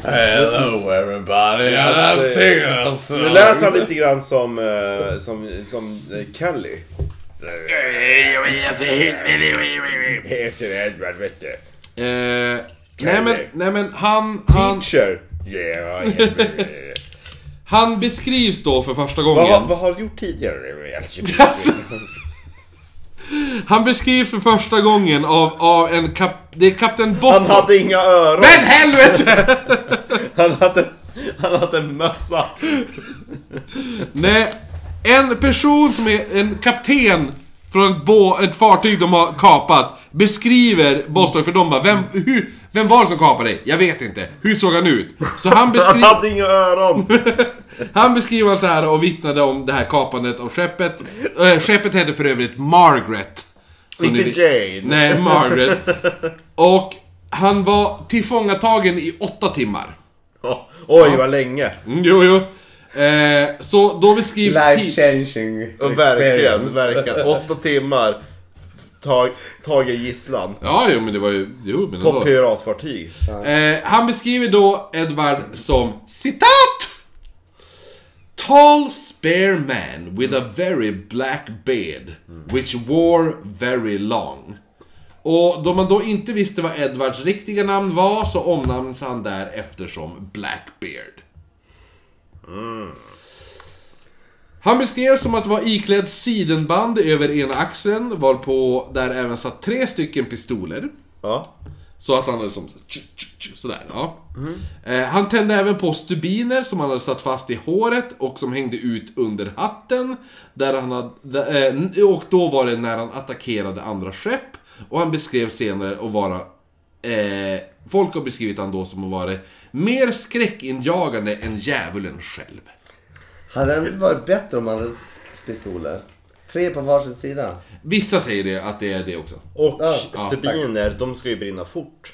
Hello everybody, I'm singers. Nu lät han lite grann som, eh, som, som eh, Kelly. Eh, Heter Edward vet du. Eh, nej, men, nej men han, han, Teacher. Yeah, yeah, yeah, yeah. han beskrivs då för första Vad, gången. vad har du gjort tidigare? Han beskrivs för första gången av, av en kap... Det är Kapten Han Boston. hade inga öron. Men helvete! Han hade, han hade en mössa. nej, en person som är en kapten Från ett, bå, ett fartyg de har kapat. Beskriver Boston, för de bara vem, hur, vem var det som kapade dig? Jag vet inte. Hur såg han ut? Så han Han beskriver... hade inga öron! Han beskriver så här och vittnade om det här kapandet av skeppet. Eh, skeppet hette för övrigt Margaret. Som Inte ni vet- Jane. Nej, Margaret. Och han var tillfångatagen i åtta timmar. Ja. Oj, vad länge! Mm, jo, jo. Eh, så då beskrivs... Life ti- changing Och verkligen, experience. verkligen. Åtta timmar. Tag, tagen gisslan. Ja, jo, men det var ju... Jo, men det På var... piratfartyg. Eh, han beskriver då Edvard som citat! Tall spare man with a very black beard which wore very long. Och då man då inte visste vad Edvards riktiga namn var så omnamns han därefter som Blackbeard. Han beskrevs som att vara iklädd sidenband över ena axeln varpå där även satt tre stycken pistoler. Ja. Så att han hade som tch, tch, tch, sådär, ja. Eh, han tände även på stubiner som han hade satt fast i håret och som hängde ut under hatten. Där han hade, där, eh, och då var det när han attackerade andra skepp. Och han beskrev senare att vara... Eh, folk har beskrivit han då som att vara mer skräckinjagande än djävulen själv. Hade det inte varit bättre om man hade sex pistoler? Tre på varsin sida. Vissa säger det, att det är det också. Och Ja, Mm. stubiner, de ska ju brinna fort.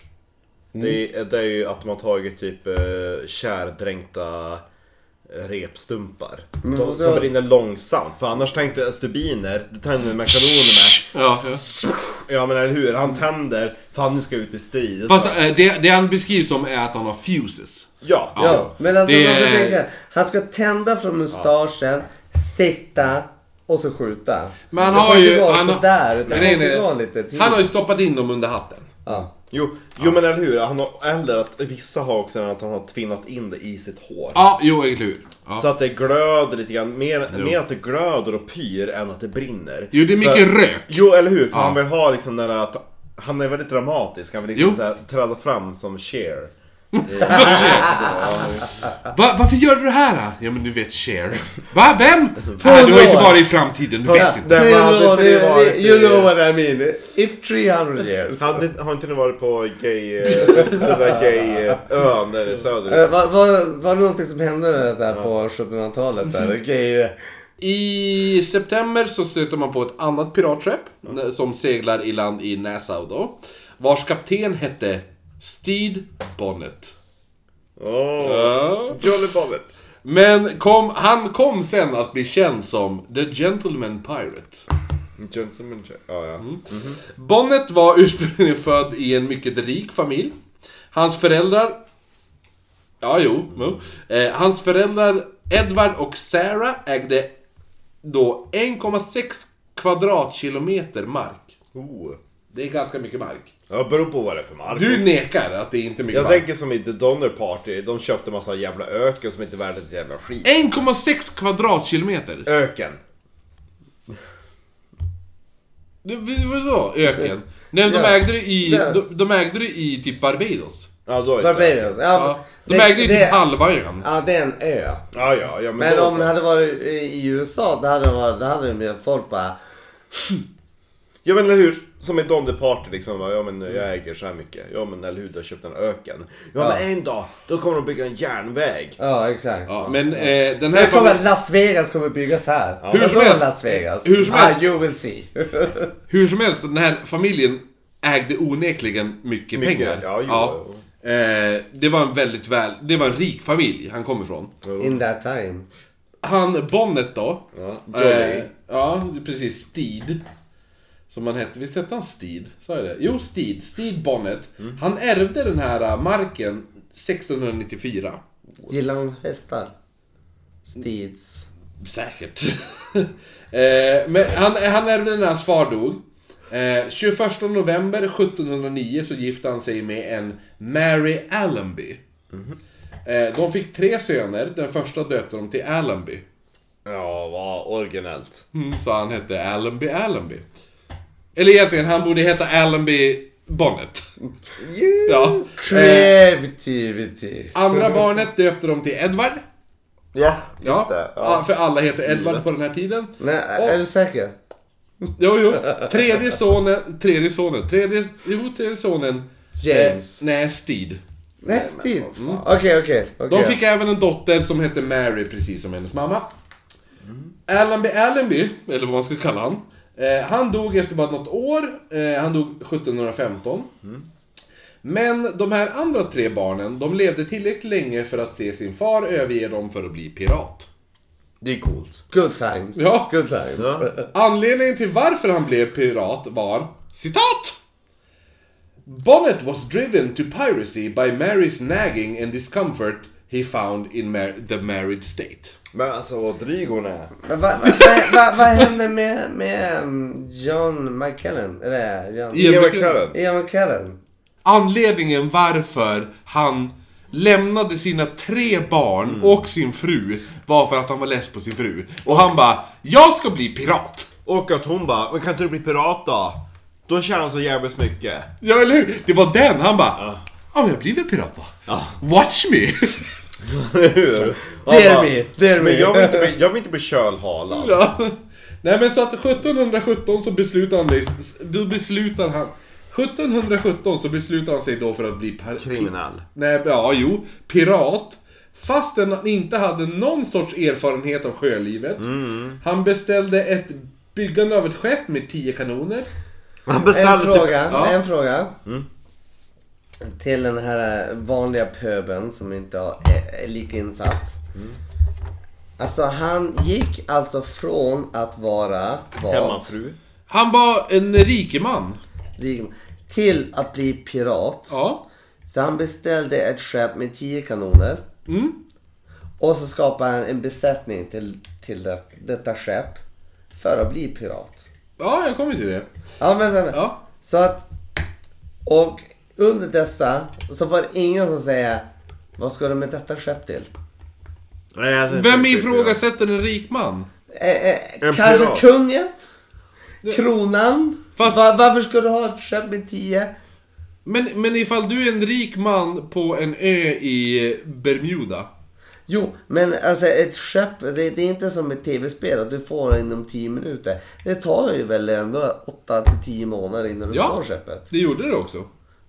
Det, är, det är ju att de har tagit typ eh, kärdränkta repstumpar. Men de, vad- som brinner långsamt. För annars tänkte jag stubiner, det tänder makaronerna. Ja, Ja men eller hur, han tänder. Fanny ska ut i strid. Fast eh, det, det han beskrivs som är att han har fuses. Ja. Ja, Ja, men alltså det- man ska tänka, han ska tända från mustaschen, sikta och så skjuta. Men han Det har får inte ju... vara Han, har- sådär, utan Nej, han får nej. vara lite tid. han har ju stoppat in dem under hatten. Ja. Jo, jo men eller hur, han har, eller att vissa har också att han har tvinnat in det i sitt hår. Ja, jo, eller hur. Ja. Så att det glöder lite grann. Mer, mer att det glöder och pyr än att det brinner. Jo, det är mycket För- rök. Jo, eller hur? För Ja. han vill ha liksom den där... att- Han är väldigt dramatisk. Han vill Jo. liksom så här, träda fram som Cher. Va, varför gör du det här? då? Ja, men du vet Cher. Va, vem? Ah, du har inte år. varit i framtiden, du vet inte. där Tre man hade år, tre det- varit det- you i- know what I mean. If 300 years. Han, har inte ni varit på gay... eh, Den där gay eh, ön där i söderut? Eh, Var, var, var det någonting som hände där på 1700-talet? Där? Okej, I september så stöter man på ett annat piratskepp som seglar i land i Nassau då. Vars kapten hette Steed Bonnet. Åh, Jolly Bollet. Men kom, han kom sen att bli känd som The Gentleman Pirate. Gentleman Jack. Ja, ja. Mm. Bonnet var ursprungligen född i en mycket rik familj. Hans föräldrar... Ja, jo. jo. Eh, hans föräldrar Edward och Sarah ägde då 1,6 kvadratkilometer mark. Oh. Det är ganska mycket mark. Ja, beror på vad det är för mark. Du nekar att det är inte är mycket Jag mark. tänker som i The Donner Party, de köpte massa jävla öken som inte är värd ett jävla skit. 1,6 kvadratkilometer? Öken! Du, v- vadå öken? Nej, de Ja. ägde det i, Ja. de, de ägde det i typ Barbados. Ja, då är det. Barbados. Ja. Ja, De ägde ju typ det, halva ön. ja, det är en ö. Ja, ja, ja, men, Men då om så. det hade varit i- i USA, då hade det varit, då hade det mer folk bara... Ja men eller hur? Som i Donner Party liksom, va, ja men jag äger så här mycket. Ja men eller hur, du har köpt en öken. Ja, Ja. men en dag, då kommer de bygga en järnväg. Ja, exakt. Ja, men eh, den här Jag kommer familjen... att Las Vegas kommer byggas här. Hur Vadå som helst. Las Vegas. Hur som helst. Ah, you will see. Hur som helst, den här familjen ägde onekligen mycket, Mycket, pengar. ja, jo, Eh, det var en väldigt väl... Det var en rik familj han kom ifrån. In that time. Han Bonnet då. Eh, Ja, Johnny. ja, precis. Steed. Som han hette. Visst hette han Steed? Sa jag det? Jo, Steed. Steed Bonnet. Mm. Han ärvde den här eh, marken 1694. Gillar hon hästar? Steeds. Säkert. eh, men han, han ärvde den när hans far dog. Eh, 21 november 1709 så gifte han sig med en Mary Allenby. Eh, de fick tre söner, den första döpte de till Allenby. Ja, vad originellt. Så han hette Allenby Allenby. Eller egentligen, han borde heta Allenby Bonnet. Ja. Eh, Creativity. andra barnet döpte de till Edward. Ja, just Ja, det. ja, Ja. för alla heter Edward på den här tiden. Nej, är du säker? Jo, jo. Tredje sonen, tredje sonen, tredje, jo, tredje sonen. James. Eh, nej, Steed. Nej, Steve. Mm. Okej, okej. De okej. fick även en dotter som hette Mary, precis som hennes mamma. Allenby Allenby, eller vad man ska kalla han. Eh, han dog efter bara något år. Eh, han dog 1715. Men de här andra tre barnen, de levde tillräckligt länge för att se sin far överge dem för att bli pirat. Det är coolt. Good times. Ja. Good times. Anledningen till varför han blev pirat var citat! Bonnet was driven to piracy by Marys nagging and discomfort he found in mar- the married state. Men alltså vad dryg hon är. Men Vad vad- vad- vad- vad hände med, med um, John McKellen? Eller John... Ian Ian McKellen. McKellen. Ian McKellen. Anledningen varför han lämnade sina tre barn och sin fru var för att han var less på sin fru. Och han bara, jag ska bli pirat! Och att hon bara, men kan inte du bli pirat då? Då tjänar han så jävligt mycket. Ja, eller hur? Det var den, han bara, ja men jag blir väl pirat då. Watch me! Hur? Dare me, dare me. Men jag vill inte bli, jag vill inte bli kölhalad. Ja. Nej men så att 1717 så beslutar han dig, då beslutar han 1717 så beslutar han sig då för att bli par- Kriminell. Nej, ja, jo, pirat. Fastän han inte hade någon sorts erfarenhet av sjölivet. Mm. Han beställde ett byggande av ett skepp med 10 kanoner. Han En beställde fråga. Typ, En fråga. Mm. Till den här eh, vanliga pöben som inte har- är, är lika insatt. Mm. Alltså han gick alltså från att vara vad? hemmafru. Han var en rikeman. Rik- Till att bli pirat. Ja. Så han beställde ett skepp med 10 kanoner. Mm. Och så skapade han en besättning till, till det, detta skepp. För att bli pirat. Ja, jag kommer till det. Ja, men, men, men. Ja. Så att... Och under dessa så var det ingen som säger Vad ska du med detta skepp till? Nej, jag hade inte Vem riktigt det. ifrågasätter en rik man? Eh, eh, En kanske pirat. kungen? Kronan? Fast- Va, varför ska du ha ett skepp med 10? Men, men ifall du är en rik man på en ö i Bermuda. Jo, men alltså ett skepp, det, det är inte som ett tv-spel att du får det inom 10 minuter. Det tar ju väl ändå 8 till 10 månader innan du Ja. får skeppet. Det gjorde det också.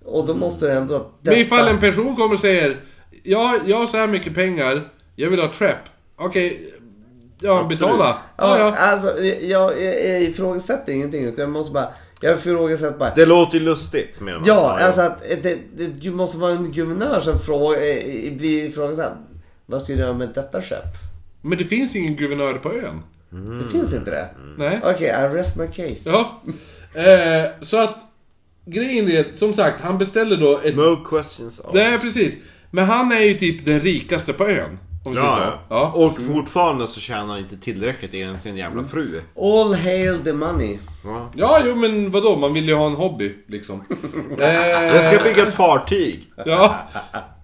Och då måste det ändå... Men ifall en person kommer och säger Ja, jag har så här mycket pengar, jag vill ha trap. Okej, ja Absolut. betala. Ja, ja. Alltså, jag, jag, jag ifrågasätter ingenting. Utan jag måste bara... Jag ifrågasätter bara... Det låter ju lustigt menar man. ja, alltså att det, det, du måste vara en guvernör som fråga, eh, blir ifrågasatt. Vad ska du göra med detta skepp? Men det finns ingen guvernör på ön. Det finns inte det. Mm. Nej. Okej, I rest my case. Ja. Eh, så att grejen är, som sagt, han beställer då ett... No questions asked. Nej, precis. Men han är ju typ den rikaste på ön. Om vi säger Ja, så. ja. Ja. Och fortfarande så tjänar han inte tillräckligt enligt sin jävla fru. All hail the money. Ja. ja, jo men vadå, man vill ju ha en hobby liksom. eh, Jag ska bygga ett fartyg. Ja.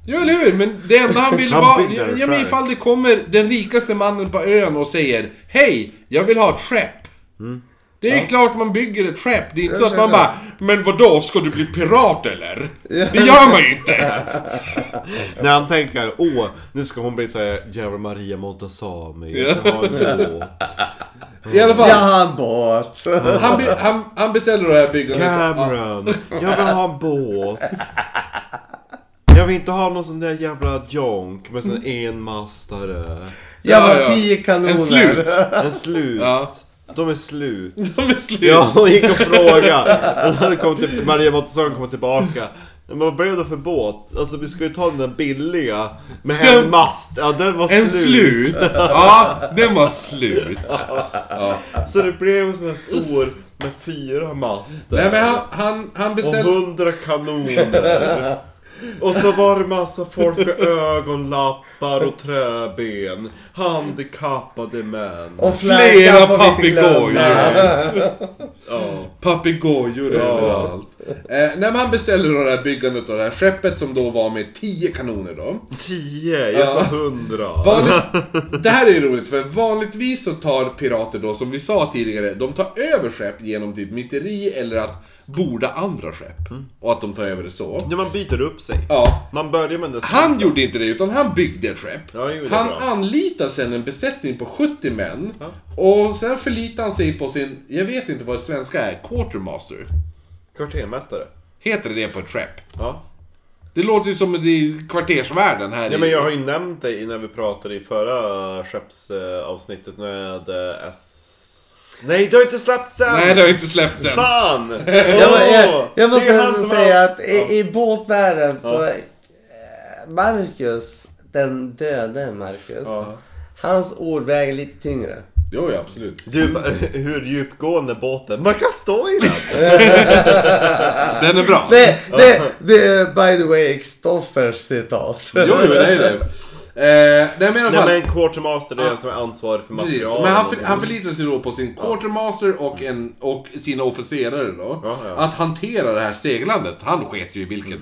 Jo, eller hur? Men det enda han vill Han vara... bygger Ja, men själv. ifall det kommer den rikaste mannen på ön och säger Hej, jag vill ha ett skepp. Det är klart man bygger ett skepp. Det är inte Jag så att man känner- bara Men vadå, ska du bli pirat eller? Det gör man ju inte! När han tänker, åh, nu ska hon bli såhär jävla Maria Montazami. Jag ska ha en båt. I alla Jag fall, har en båt. han, be, han, han beställer det här byggandet. Ja. Cameron, jag vill ha en båt. Jag vill inte ha någon sån där jävla jonk med sån enmastare. Jag Ja, har ja. 10 kanoner. En slut! En slut. Ja. De är slut. De är slut! Ja, hon gick och frågade. Och hon kom till, Maria Montazami kom tillbaka. Men vad blev det för båt? Alltså vi ska ju ta den där billiga med Den- en mast. Ja, den var En slut. slut! Ja, den var slut. Ja. Så det blev en sån här stor med fyra master. Nej men han, han, han Och beställer... hundra kanoner. Och så var det massa folk med ögonlappar och träben. Handikappade män. Och Flera flaggan får vi inte glömma. papegojor. Ja. Papegojor Ja. överallt. Eh, när man beställer då det här byggandet av det här skeppet som då var med 10 kanoner då. 10, jag sa Ja. 100. Vanligt, det här är ju roligt för vanligtvis så tar pirater då, som vi sa tidigare, de tar över skepp genom typ myteri eller att borda andra skepp. Mm. Och att de tar över det så. När man byter upp sig. Ja. Man börjar med den Han gjorde inte det, utan han byggde ett skepp. Ja, han gjorde det han bra. anlitar sen en besättning på 70 män. Och sen förlitar han sig på sin, jag vet inte vad det svenska är, quartermaster. Kvartermästare. Heter det det på ett skepp? Ja. Det låter ju som i kvartersvärlden här Nej i- men jag har ju nämnt dig när vi pratade i förra skeppsavsnittet med eh, S... Nej, du har inte släppt än! Nej, det har inte släppts än. Fan! Åh, Jag, jag, det är jag måste han ändå som säga har- att i, i båtvärlden så... eh, Marcus, den döde Marcus. Ja. Hans ord väger lite tyngre. Jo, ja, absolut. Du, hur djupgående båten? Man kan stå i den! Den är bra. Det, det, det är by the way Kristoffers citat. Jo, jo, det är det. Eh, nej, men i alla fall. Nej men quartermaster det är den som är ansvarig för Precis, material. men han, och- för, han förlitar sig då på sin quartermaster och, en, och sina officerare då. Ja, ja. Att hantera det här seglandet. Han sket ju i vilket.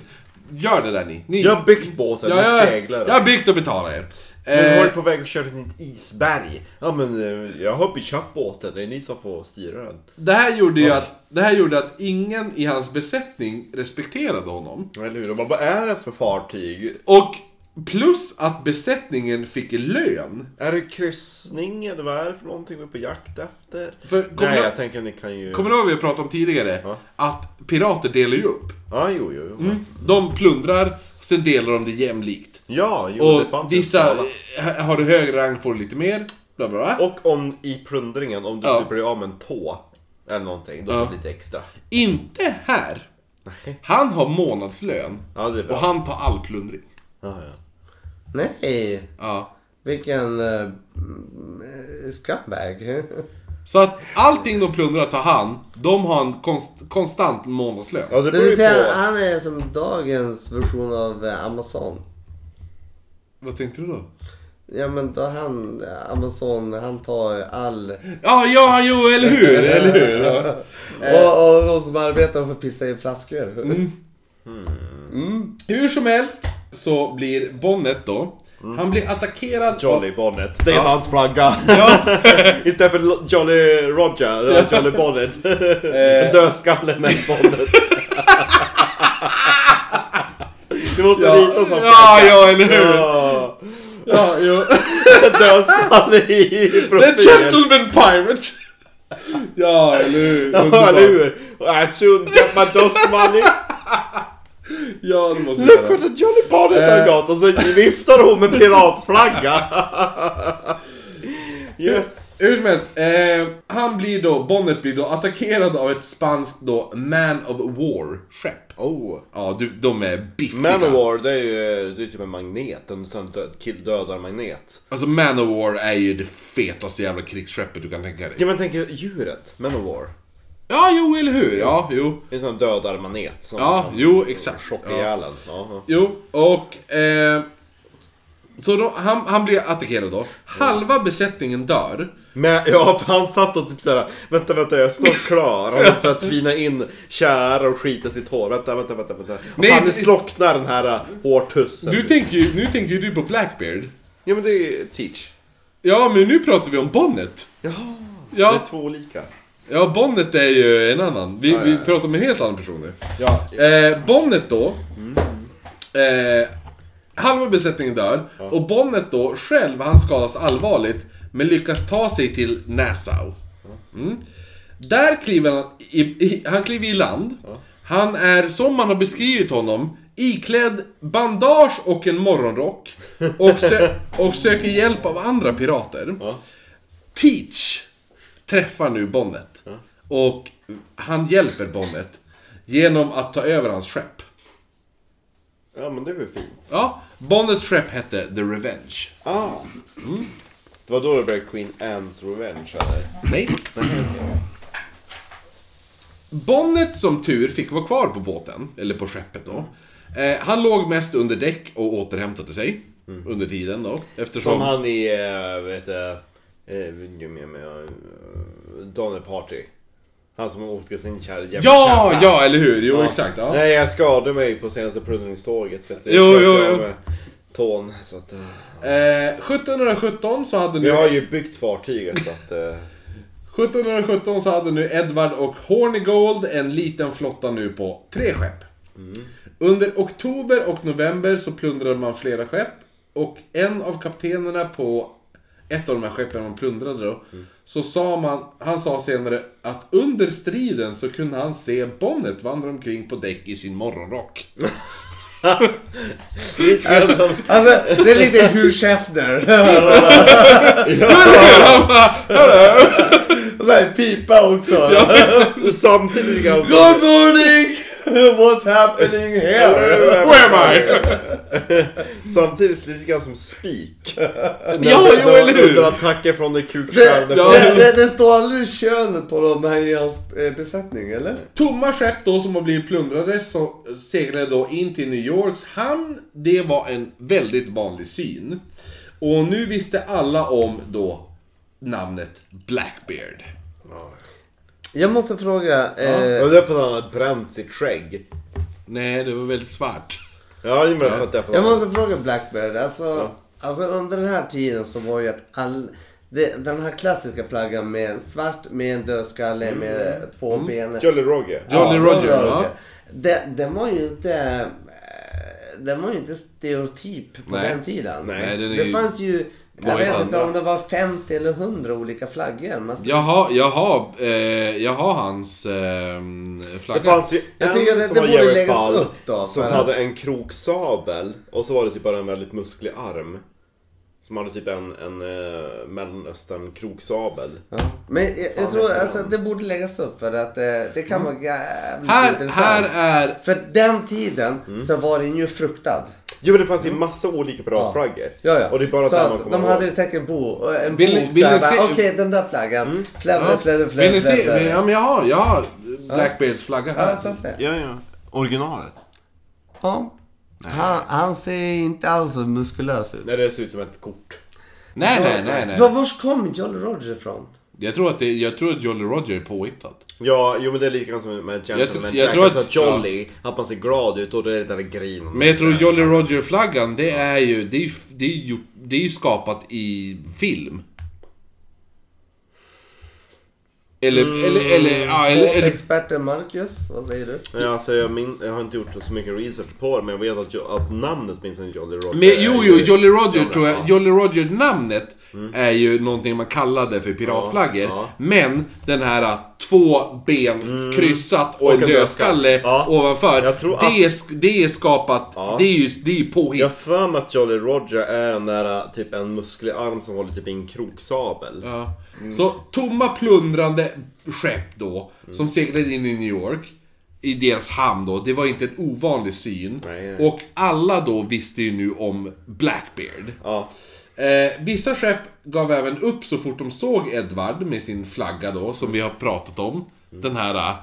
Gör det där ni. ni Jag har byggt båten Ja, med jag- seglare. Jag har byggt och betalat er. Men Eh, var på väg att köra in i ett isberg. Ja men eh, jag har pitchat båten, det är ni som får styra den. det, här gjorde ju att, det här gjorde att ingen i hans besättning respekterade honom. Eller hur? De bara, vad är det ens för fartyg? Och plus att besättningen fick lön. Är det kryssning eller vad är det för någonting vi är på jakt efter? För kommer Nej, du- jag tänker ni kan ju... Kommer du ihåg vad vi pratade om tidigare? Ja. Att pirater delar ju upp. Ja, jo, jo, jo. Mm. De plundrar, sen delar de det jämlikt. Ja, jo, det Och fanns ju en vissa, skala. eh, har du högre rang får du lite mer. Bla bla, bla. Och om i plundringen, om du Ja. typ blir av med en tå eller någonting, då Ja. får du lite extra. Inte här. Han har månadslön. Ja, det är bra. Och han tar all plundring. Ja, ja. Nej, Ja. vilken eh, mm, eh, scumbag. Så att allting de plundrar tar han. De har en konst, konstant månadslön. ja det Så beror ju vi säger på. att han är som dagens version av eh, Amazon. Vad tänkte du då? Ja men då han, eh, Amazon, han tar all... eh, Ja, ja, jo, eller hur? Eller hur? Ja. Och, och de som arbetar får pissa i flaskor. Hur som helst så blir Bonnet då. Han blir attackerad av Mm. Jolly Bonnet, det är Ja. hans flagga. Istället för Lo- Jolly Roger, det är Jolly Bonnet. eh, En dödskalle med en bonnet. Du måste rita som Ja, ja, eller hur? Ja. Ja, ja. Dödskalle i The profil. gentleman pirate! Ja, eller hur? Ja, eller hur? I should get my dust money. Ja, det måste vi Look what göra. Eh. the Jolly Bonnet har got! Och så viftar hon med piratflagga. Yes. Hur som helst, eh, han blir då, Bonnet blir då attackerad av ett spanskt då Man of War-skepp. Oh. Ja, du, de är biffiga. Manowar, det är ju det är typ en magnet. En sån död, kill dödar magnet. Alltså Man of War är ju det fetaste jävla krigsskeppet du kan tänka dig. Ja men tänk djuret, Manowar. Ja, jo, eller hur? Ja, jo. Det är en sån dödar magnet som Ja, kan jo, exakt. chocka Ja. ihjäl en. Ja, ja. Jo, och... Eh, så då, han, han blir attackerad då. Halva besättningen dör. Men ja, för han satt och typ såhär, vänta vänta jag är snart klar. Han satt och tvina in tjära och skita sitt hår. Vänta vänta vänta. vänta. Och Nej, fan, men- det slocknar den här äh, hårtussen. Du tänker ju, nu tänker ju du på Blackbeard. Ja men det är Teach. Ja, men nu pratar vi om Bonnet. Jaha, det Ja, är två olika. ja Bonnet är ju en annan. Vi, ja, vi ja. pratar om en helt annan person nu. Ja, Eh, Bonnet då. Eh, halva besättningen dör. Och Bonnet då själv, han skadas allvarligt. Men lyckas ta sig till Nassau. Mm. Där kliver han i, i, han kliver i land. Han är, som man har beskrivit honom, iklädd bandage och en morgonrock. Och, sö- och söker hjälp av andra pirater. Teach träffar nu Bonnet. Och han hjälper Bonnet genom att ta över hans skepp. ja men det är väl fint. Ja, Bonnets skepp hette The Revenge. Ah. Det var då det blev Queen Anne's Revenge eller? Nej. Bonnet som tur fick vara kvar på båten, eller på skeppet då. Eh, han låg mest under däck och återhämtade sig under tiden då. Eftersom... Som han i, äh, vet du, äh, Donner Party. Han som åkte sin kär, jävla Ja, kärra. ja, eller hur? Jo, exakt. Ja. Nej, jag skadade mig på senaste plundringståget. vet du. Jo, Jag jo, krökte jo. av, eh, Tån. Så att, eh, Eh, 1717 så hade vi nu... har ju byggt fartyget så att... eh, 1717 så hade nu Edvard och Hornigold en liten flotta nu på tre skepp. Under oktober och november så plundrade man flera skepp och en av kaptenerna på ett av de här skeppen man plundrade då, så sa man, han sa senare att under striden så kunde han se Bonnet vandra omkring på däck i sin morgonrock. Alltså, Alltså, det är lite Hugh Hefner. Han bara, Och så här pipa också. samtidigt alltså. Good morning! What's happening here? Where am I? Samtidigt lite grann som spik. Ja, jo, eller Under hur? attacker från det Det, kukskärande. Ja. det, det, det står aldrig könet på de här i hans eh, besättning, eller? Tomma skepp då som har blivit plundrade så seglade då in till New Yorks hamn. Det var en väldigt vanlig syn. Och nu visste alla om då namnet Blackbeard. Ja. Jag måste fråga... Eh, Det var därför han hade bränt sitt skägg. Nej, det var väldigt svart. Ja, det är för att därför jag måste fråga Blackbeard. Alltså, alltså under den här tiden så var ju att all... Det, den här klassiska flaggan med en svart, med en dödskalle, med två ben. Jolly Roger. Jolly Roger, ja. Den, den var ju inte... Den var ju inte stereotyp på Nej. den tiden. Nej, den är det ju- fanns ju... Många Jag vet inte andra. om det var 50 eller 100 olika flaggor. Man Jag har, jag har, eh, jag har hans eh, Det flagga. fanns ju Jag en tycker det- som det var borde jävligt läggas ball, upp då, Som för hade att- en kroksabel och så var det typ bara en väldigt musklig arm. Som hade typ en, en eh, mellanöstern kroksabel. Ja. Men jag, jag tror heter den? alltså, det borde läggas upp för att eh, det kan vara jävligt Mm. Här, intressant. här är... Mm. För den tiden så var den ju fruktad. Jo men det fanns ju massa olika piratflaggor. Mm. Ja, ja. Och det är bara så där man att kommer de ihåg. hade ju säkert en bo, en Vill ni- bok vill ni där. se- bara, Okej, den där flaggan. Mm. Flävre, Ja. flävre, Vill flävre, ni se? flävre. Ja, men jag har, jag har Blackbeards flagga Ja, här. får jag se? Ja, ja. Originalet. Ja. Han, han ser inte alls så muskulös ut. Nej, det ser ut som ett kort. Nej, nej, nej, Var, nej. var kom Jolly Roger ifrån? Jag tror att, det, jag tror att Jolly Roger är påhittat. Ja, jo men det är likadant som med Gentleman Jag tr- Jack. jag tror Alltså att- att Jolly, att man ser glad ut och det är det där grinet. Men jag tror Jolly Roger-flaggan, det är ju... Det är ju, det är ju, det är ju skapat i film. Eller, Mm. eller, eller, ja, eller, Och eller... Experten Marcus, vad säger du? Nej, alltså, jag, min, jag har inte gjort så mycket research på det, men jag vet att, jo, att namnet minns en Jolly Roger. Men, jo, jo, Jolly Roger Ja, tror jag... ja. Jolly Roger-namnet är ju någonting man kallade för piratflaggor. Mm. Ja, ja. Men den här äh, två ben kryssat och, Och en en dödskalle dödskalle. Ja. ovanför. Jag tror att- det, är, sk- det är skapat... Ja. Det är ju det är ju påhitt. Jag har för mig att Jolly Roger är den där typ en musklig arm som håller typ i en kroksabel. Ja. Så tomma plundrande skepp då, som seglade in i New York, i deras hamn då, det var inte en ovanlig syn. Nej, nej. Och alla då visste ju nu om Blackbeard. Ja. Eh, vissa skepp gav även upp så fort de såg Edward med sin flagga då, som vi har pratat om. Den här, eh,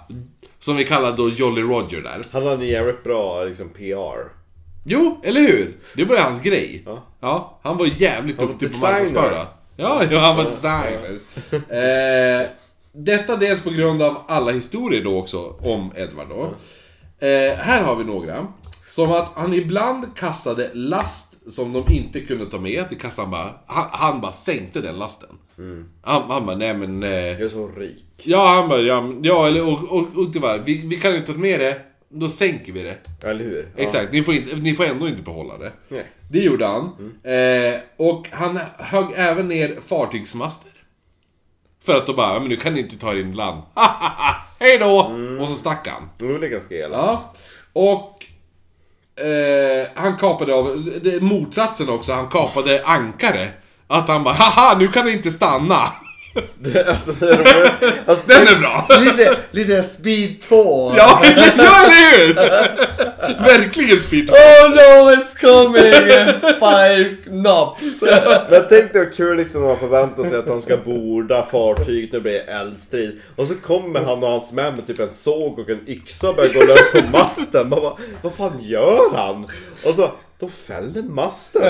som vi kallar då Jolly Roger där. Han hade en jävligt bra liksom PR. Jo, eller hur? Det var ju hans grej. Ja. Ja, han var jävligt var duktig på designer. marknadsföra. Ja, ja, han var designer. Eh, detta dels på grund av alla historier då också om Edvard då. Eh, här har vi några. Som att han ibland kastade last som de inte kunde ta med. Det kastade han bara. Han, han bara sänkte den lasten. Mm. Han, han bara, nej men... Eh, Jag är så rik. ja, han bara, ja, men- ja eller och, och, och det var, vi, vi kan inte ta med det. Då sänker vi det. Eller hur? Ja. Exakt, ni får, inte, ni får ändå inte behålla det. Nej. Det gjorde han. Eh, och han högg även ner fartygsmaster. För att då bara, "Ja, men nu kan ni inte ta er in i land. Hej då! Och så stack han. Jo, det är ganska elakt. Ja. Och eh, han kapade av, det, motsatsen också, han kapade ankare. Att han bara, haha nu kan ni inte stanna. Alltså, det är roligt. alltså, Den är bra! Lite, lite speed 2. ja, ja, eller hur? Verkligen speed. Oh no, it's coming! Five knops! Men tänk dig vad kul liksom när man förväntar sig att han ska borda fartyget, nu blir det eldstrid. Och så kommer han och hans män med typ en såg och en yxa och börjar gå lös på masten. Man bara, vad fan gör han? Och så, De fällde masten.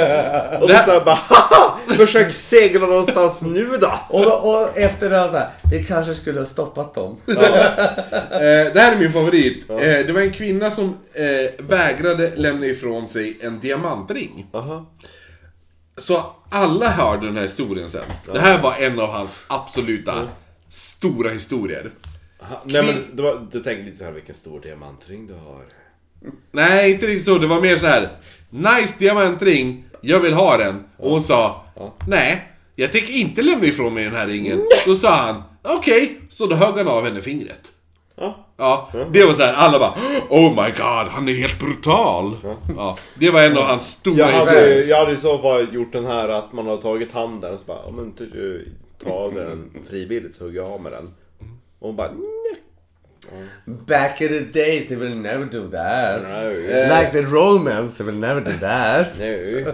Och så såhär bara haha! Försök segla någonstans nu då! Och, då, och efter det här så här, vi kanske skulle ha stoppat dem. Eh, det här är min favorit. Eh, det var en kvinna som eh, vägrade lämna ifrån sig en diamantring. Aha. Så alla hörde den här historien sen. Det här var en av hans absoluta stora historier. Aha. Nej men det var, du tänkte lite såhär vilken stor diamantring du har. Nej, inte riktigt så. Det var mer så här. Nice diamantring, jag vill ha den. Och hon sa, nej, jag tänker inte lämna ifrån mig den här ringen. Då sa han, okej. Så då högg han av henne fingret. Ja. Ja, det var så här. alla bara Oh my god, han är helt brutal! Ja, det var en av hans stora Jag hade, historier. ju- jag hade i så fall gjort den här att man har tagit handen och så bara, "Ja, men inte du ta av dig den frivilligt så hugger jag av med den. Och hon bara, "Nej." Back in the days they will never do that. No. Like the romance they will never do that. nej.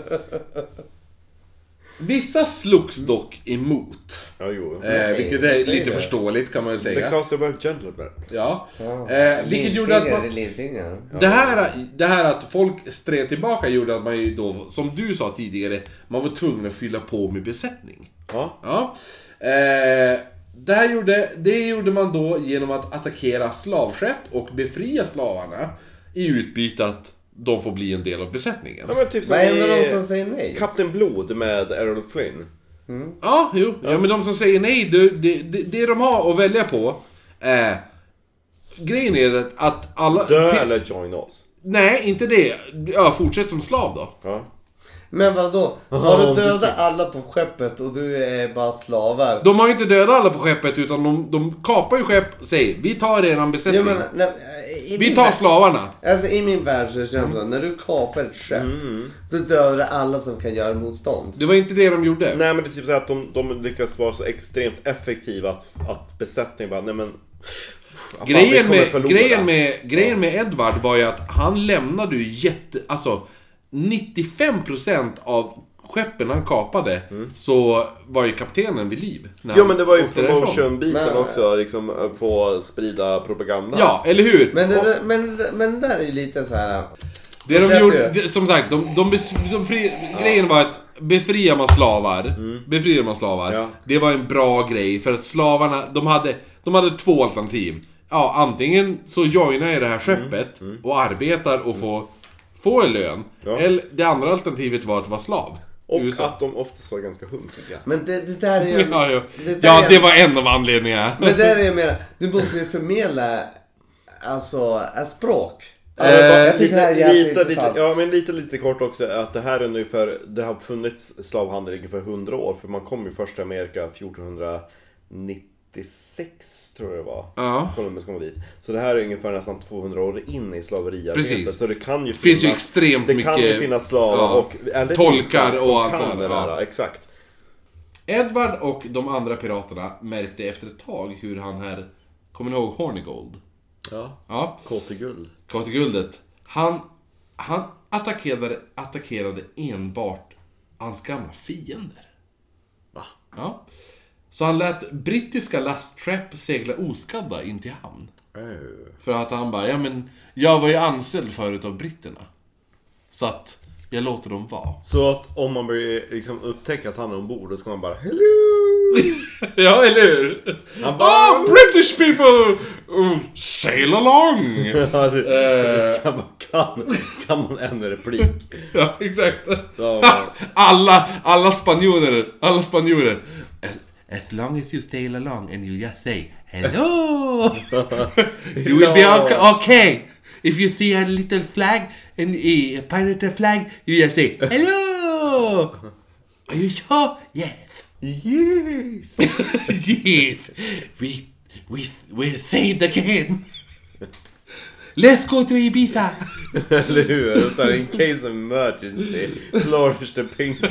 Vissa slogs dock emot. Ja, jo. Eh, vilket är säg lite det. förståeligt kan man väl säga. Because they were gentlemen. Ja. Eh, vilket gjorde att Lillfinger man, är lillfinger. Det här, det här att folk stred tillbaka gjorde att man ju då, som du sa tidigare, man var tvungen att fylla på med besättning. Ja. Ja. Eh, det, här gjorde, det gjorde man då genom att attackera slavskepp och befria slavarna i utbyte att de får bli en del av besättningen. ja men typ som Vad händer i de som säger nej? Kapten Blod med Errol Flynn. Ja, jo. Ja. men de som säger nej, det, det, det, det de har att välja på är... Grejen är att- att alla... Dö pe- eller join us. Nej, inte det. Ja, fortsätt som slav då. Ja. Men vadå? Har du dödat alla på skeppet och du är bara slavar? De har ju inte dödat alla på skeppet utan de, de kapar ju skepp och säger vi tar eran besättning. Jag menar, nej, i vi min tar värld- slavarna. Alltså i min värld så känns det som när du kapar ett skepp, då dödar du alla som kan göra motstånd. Det var inte det de gjorde. Nej men det är typ så här att de, de lyckas vara så extremt effektiva att, att besättningen bara, nej men... fan, vi grejen, kommer med, förlora. grejen, med, grejen med Edward var ju att han lämnade ju jätte... Alltså 95% av skeppen han kapade så var ju kaptenen vid liv. när han Ja Mm. men det var ju åkte därifrån. promotion-biten Men- också, liksom få sprida propaganda. Ja, eller hur? Men det, där- men, det- men det där är ju lite så här. Det de Fortsätt gjorde, ju. det- som sagt, de, de, bes, de fri, grejen var att befria man slavar, befriar man slavar, Ja. det var en bra grej för att slavarna, de hade, de hade två alternativ. Ja, antingen så joinar jag det här skeppet och arbetar och får, får en lön. Ja. Eller det andra alternativet var att vara slav. Och I USA. att de oftast var ganska humpiga. Men det, det där är ju... Ja, ja. Det där ja, är- det var en av anledningarna. Men där är ju mer, du måste ju förmedla, alltså, ett språk. Ja, men Eh, bara- jag det här är tyckte jävligt lite, lite, intressant. ja men lite, lite kort också att det här är ungefär, det har funnits slavhandel i ungefär 100 år för man kom ju först till Amerika 1496 tror jag det var. Ja. Columbus kom dit. Så det här är ungefär nästan 200 år in i slaveriarbetet. Precis. Så det kan ju finnas, finns ju extremt det kan ju mycket- finnas slavar ja, och eller tolkar inte, som och allt kan det det där, där. Exakt. Edward och de andra piraterna märkte efter ett tag hur han här, kommer ni ihåg Hornigold? Ja. Ja. Kåt i guld. Kom till guldet. Han, han attackerade, attackerade enbart hans gamla fiender. Va? Ja. Så han lät brittiska lastskepp segla oskadda in till hamn. För att han bara, ja men jag var ju anställd förut av britterna. Så att jag låter dem vara. Så att om man börjar liksom upptäcka att han är ombord då ska man bara Hello! ja, eller hur? Han Ah, British people! Mm, Sail along! Ja, det, Eh. det kan, man, kan, kan man en replik? Ja, exakt. Ja, men- alla, alla spanjorer, alla spanjorer. As, as long as you sail along and you just say hello. you will be okay, okay. If you see a little flag and a pirate flag, you just say hello. Are you sure? Yes. Yes. yes. We, we, we're saved again. Let's go to Ibiza. Eller hur? Så här, in case of emergency, flourish the pinky.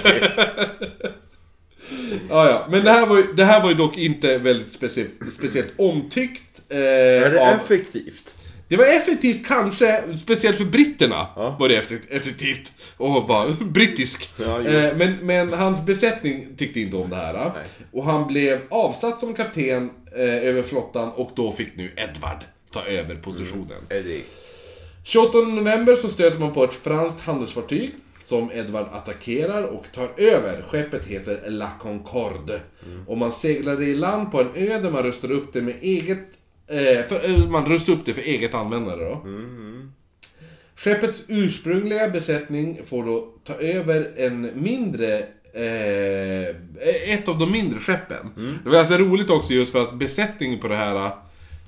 Ja, ja. Men det här, var ju, det här var ju dock inte väldigt speci- speciellt omtyckt. Eh, Är det av, effektivt? det var effektivt kanske, speciellt för britterna Ja. var det effektivt. effektivt och var brittisk. Ja, jo. eh, men, men hans besättning tyckte inte om det här. eh. Nej. Och han blev avsatt som kapten eh, över flottan och då fick nu Edward ta över positionen. Är det? 28 november så stöter man på ett franskt handelsfartyg som Edvard attackerar och tar över. Skeppet heter La Concorde. Och man seglar det i land på en ö där man rustar upp det med eget... Eh, för, eh, man rustar upp det för eget användare då. Skeppets ursprungliga besättning får då ta över en mindre eh, ett av de mindre skeppen. Det var ganska roligt också just för att besättningen på det här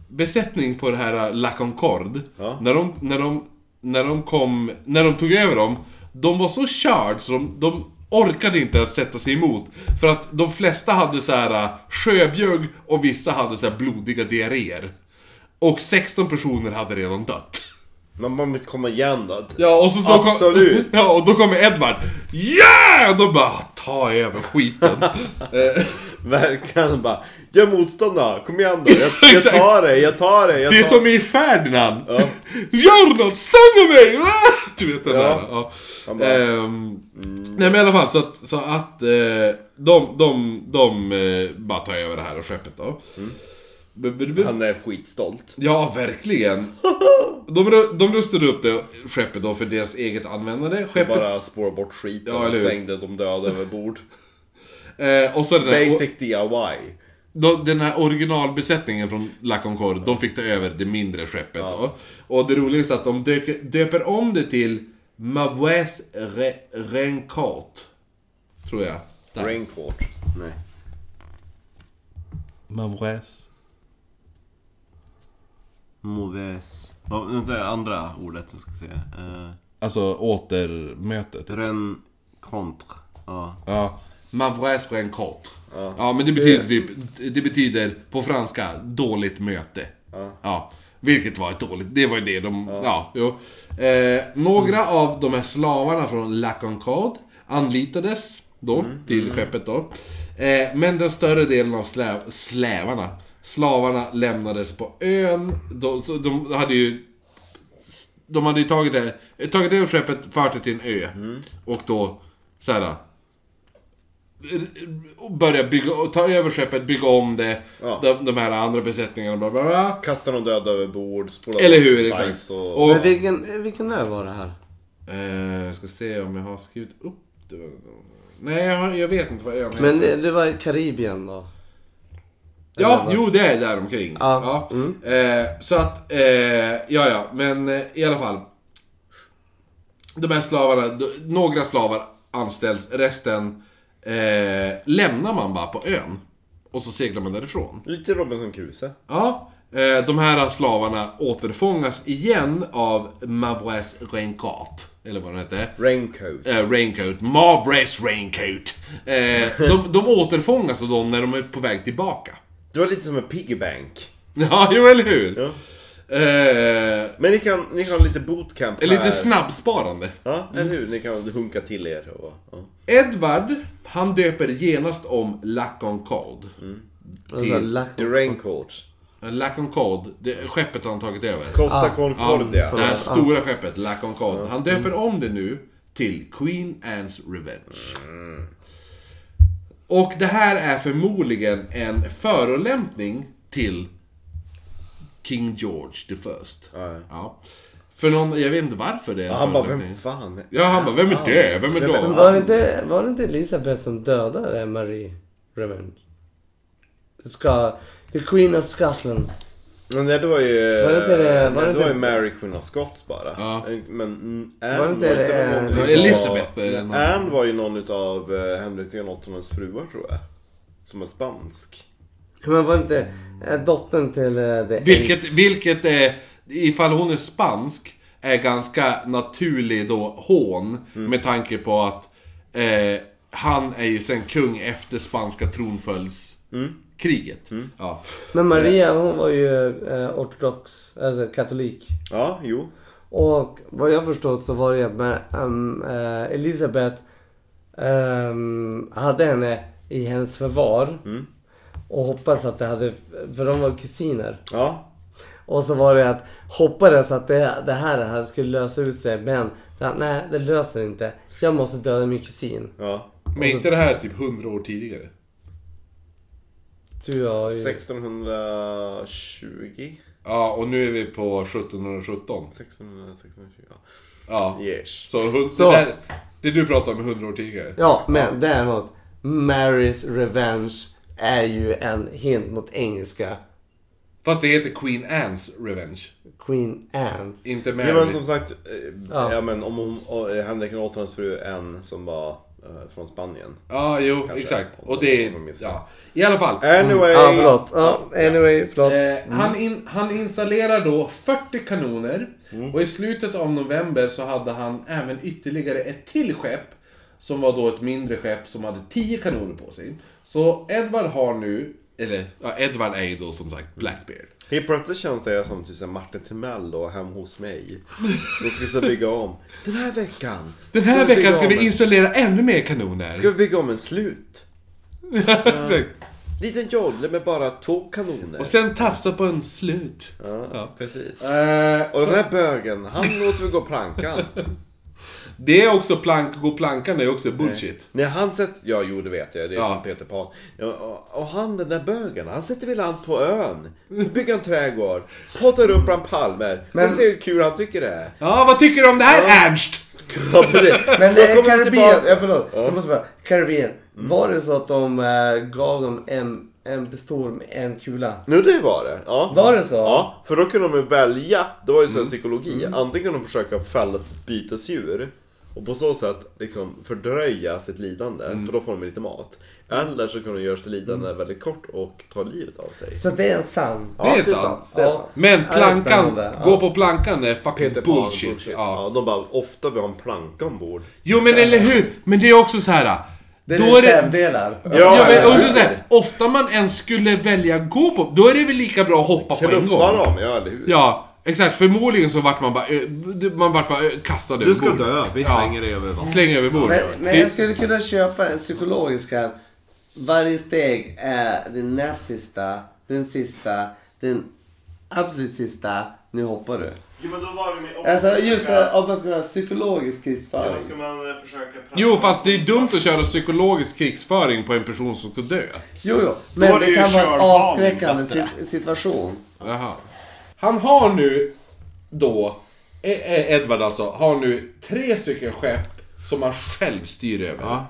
besättningen på det här La Concorde Ja. när, de, när, de, när de kom när de tog över dem de var så körd så de, de orkade inte ens sätta sig emot för att de flesta hade så här eh, sjöbjugg och vissa hade så här blodiga diarréer. Och 16 personer hade redan dött. Men man vill komma igen då. Ja, och så då kom, Absolut. Ja, och då kommer Edvard. Yeah! Och då bara, ta över skiten. Eh, Verkligen bara, gör motstånd då, kom igen då. Jag, jag Exakt. tar dig, jag tar dig. Jag det är tar... som i Ferdinand. Gör något, stånga mig! Ah! Du vet den Ja. Mm. där. Ja. Han bara- Ehm, Nej men i alla fall så att, så att eh, de, de, de eh, bara tar över det här och skeppet då. Bu- bu- bu- Mm. Han är skitstolt. Ja, verkligen. De, ru- de rustade upp det skeppet då för deras eget användande. Skeppet... Bara spår bort skiten Ja, och eller hur? slängde de döda över bord. Eh, och så den där, Basic DIY. Då, den här originalbesättningen från La Concorde, de fick ta över det mindre skeppet då. Och det roligaste är att de döker, döper om det till Mauvaise Re, Rencote. Tror jag. Där. Raincourt. Nej. Mauvaise. Moves. Vad vänta, andra ordet som ska säga. Eh, Alltså återmötet. Rencontre. Ja. Ja. Mauvaise Rencote. Ja. Ja. men det betyder typ, det betyder på franska, dåligt möte. Ja. Vilket var ett dåligt, det var ju det de, ja, jo. Eh, några av de här slavarna från La Concorde anlitades då, till skeppet då. Eh, men den större delen av slä, slävarna, slavarna lämnades på ön. Då, så de hade ju de hade ju tagit det, tagit över skeppet, fört det till en ö. Och då, så här. Börja bygga, ta över skeppet, bygga om det. Ja. De, de här andra besättningarna, bla bla bla. Kastar de döda över bord, spolar Eller bort hur, bajs exakt. Och... Och, Men vilken, vilken ö var det här? eh, ska se om jag har skrivit upp det. Nej, jag, har, jag vet inte vad ön heter. Men det, det var i Karibien då? Ja, Eller vad? jo det är där omkring. Ja. Mm. Ja. Eh, så att, eh, ja ja, men eh, i alla fall. De här slavarna, d- några slavar anställs, resten eh, lämnar man bara på ön. Och så seglar man därifrån. Lite Robinson Crusoe. Ja, eh, de här slavarna återfångas igen av Mavres Renkat, eller vad den hette. Raincoat. Eh, raincoat, Mavres Raincoat. Eh, de, de återfångas av dem när de är på väg tillbaka. Det var lite som en piggy bank. Ja, jo eller hur? Ja. Eh, Men ni kan, ni kan ha lite bootcamp här. lite snabbsparande. Ja, eller hur? Ni kan hunka till er och... Ja. Edvard, han döper genast om La Concorde. Alltså, La... The Raincourt. La Concorde, det skeppet har han tagit över. Costa Ah. Concordia. Det här stora skeppet, La Concorde. Han döper Mm. om det nu till Queen Anne's Revenge. Mm. Och det här är förmodligen en förolämpning till King George the First. Ja. Ja. För någon, jag vet inte varför det är en Han bara, förolämpning. vem fan? är- Ja, han bara, vem är det? Vem är Vem är- de? Var det inte, var det inte Elisabeth som dödade Marie Revenge? Ska, the Queen of Scotland. Men det var ju... Var det inte det- var nej, det det var ju inte- Mary Queen of Scots bara. Ja. Men mm, Anne Var det inte det- någon det- utav- Elizabeth eller någon. Anne var ju någon utav eh, Henrik den åttondes fruar tror jag. Som är spansk. Men var det inte eh, dottern till eh, The Eight? Vilket, vilket är, ifall hon är spansk, är ganska naturlig då hån Mm. med tanke på att eh, han är ju sen kung efter spanska tronföljdskriget. Mm. Ja. Men Maria hon var ju eh, ortodox, alltså katolik. Ja, jo. Och vad jag förstått så var det att Mar- ehm, eh, Elisabeth ehm, hade henne i hennes förvar. Och hoppas att det hade, för de var kusiner. Ja. Och så var det att hoppades att det, det här, här skulle lösa ut sig men att, nej det löser inte. Jag måste döda min kusin. Ja. Men inte det här typ hundra år tidigare? Du har ju... 1620? Ja, och nu är vi på 1717. 1600, 1620, ja. Ja. Yes. Så, hund, Så. Det, där, Det du pratade om med 100 år tidigare. Ja, men däremot Marys Revenge är ju en hint mot engelska Fast det heter Queen Anne's Revenge. Queen Anne's. Inte Mary. Ja men som sagt, eh, Ja. ja. men om hon, och, eh, Henrik och Åtans fru är en som var eh, från Spanien. Ja, jo, Kanske. exakt. Om- Och det... om jag minns Ja. I alla fall. Anyway! Mm. Ja, förlåt. Ja, anyway, förlåt. Eh, han, in, han installerar då 40 kanoner och i slutet av november så hade han även ytterligare ett till skepp som var då ett mindre skepp som hade 10 kanoner på sig. Så Edvard har nu, eller ja, Edvard är ju då som sagt Blackbeard. Helt plötsligt känns det som typ så här Martin Timell då, hem hos mig. Då ska vi så bygga om. Den här veckan. Den här bygga veckan ska om vi en- installera ännu mer kanoner. Ska vi bygga om en slut? Exakt. Liten jolle med bara två kanoner. och sen tafsa på en slut. Ja. Precis. Eh, Och så- den här bögen, han låter vi gå plankan. Det är också plank, gå plankan är också bullshit. När han sett... Ja, jo det vet jag. Det är Ja. från Peter Pan. Ja, och, och han den där bögen, han sätter väl land på ön. Bygger en trädgård. Pottar upp bland palmer. Men... Men- Och ser hur kul han tycker det är. Ja, vad tycker du om det här Ernst? Ja, precis. Men Då eh, kommer vi Karibien, tillbaka- ja, förlåt. Jag måste bara, Karibien. Var det så att de eh, gav dem en, en pistol med en kula? Nu det var det. Mm. Ja. Var det så? Ja, för då kunde de ju välja. Det var ju sån psykologi. Antingen kunde de försöka fälla ett bytesdjur och på så sätt liksom fördröja sitt lidande, för då får de lite mat. Eller så kunde de göra sitt lidande väldigt kort och ta livet av sig. Så det är en sann. Det är sant. Det Mm. är Ja. sant. Men Ja, det är plankan, spännande. Ja. gå på plankan är fucking Peter Pan, bullshit. Ja. Ja, de bara, ofta vi har en planka ombord. Jo men eller hur? Men det är också så här. Det är då är det, reservdelar. ja, Ja, men ja, också ja. så här, ofta man ens skulle välja gå på, då är det väl lika bra att hoppa på en gång. Knuffa dem, ja eller hur? Ja, exakt. Förmodligen så vart man bara, ö, man vart bara ö, kastad över bord. Ja. dig över vattnet. Släng över bord. Men, men Det- jag skulle kunna köpa den psykologiska. Varje steg är den näst sista, den sista, den absolut sista. Nu hoppar du. Jo men då var det med... Alltså just det, om man ska vara psykologisk krigsföring. man försöka... Jo, fast det är dumt att köra psykologisk krigsföring på en person som ska dö. Jo, jo. var Men det det ju kan vara en körbarn, avskräckande inte. sit- situation. Jaha. Han har nu då, E- E- Edvard alltså, har nu tre stycken skepp som han själv styr över.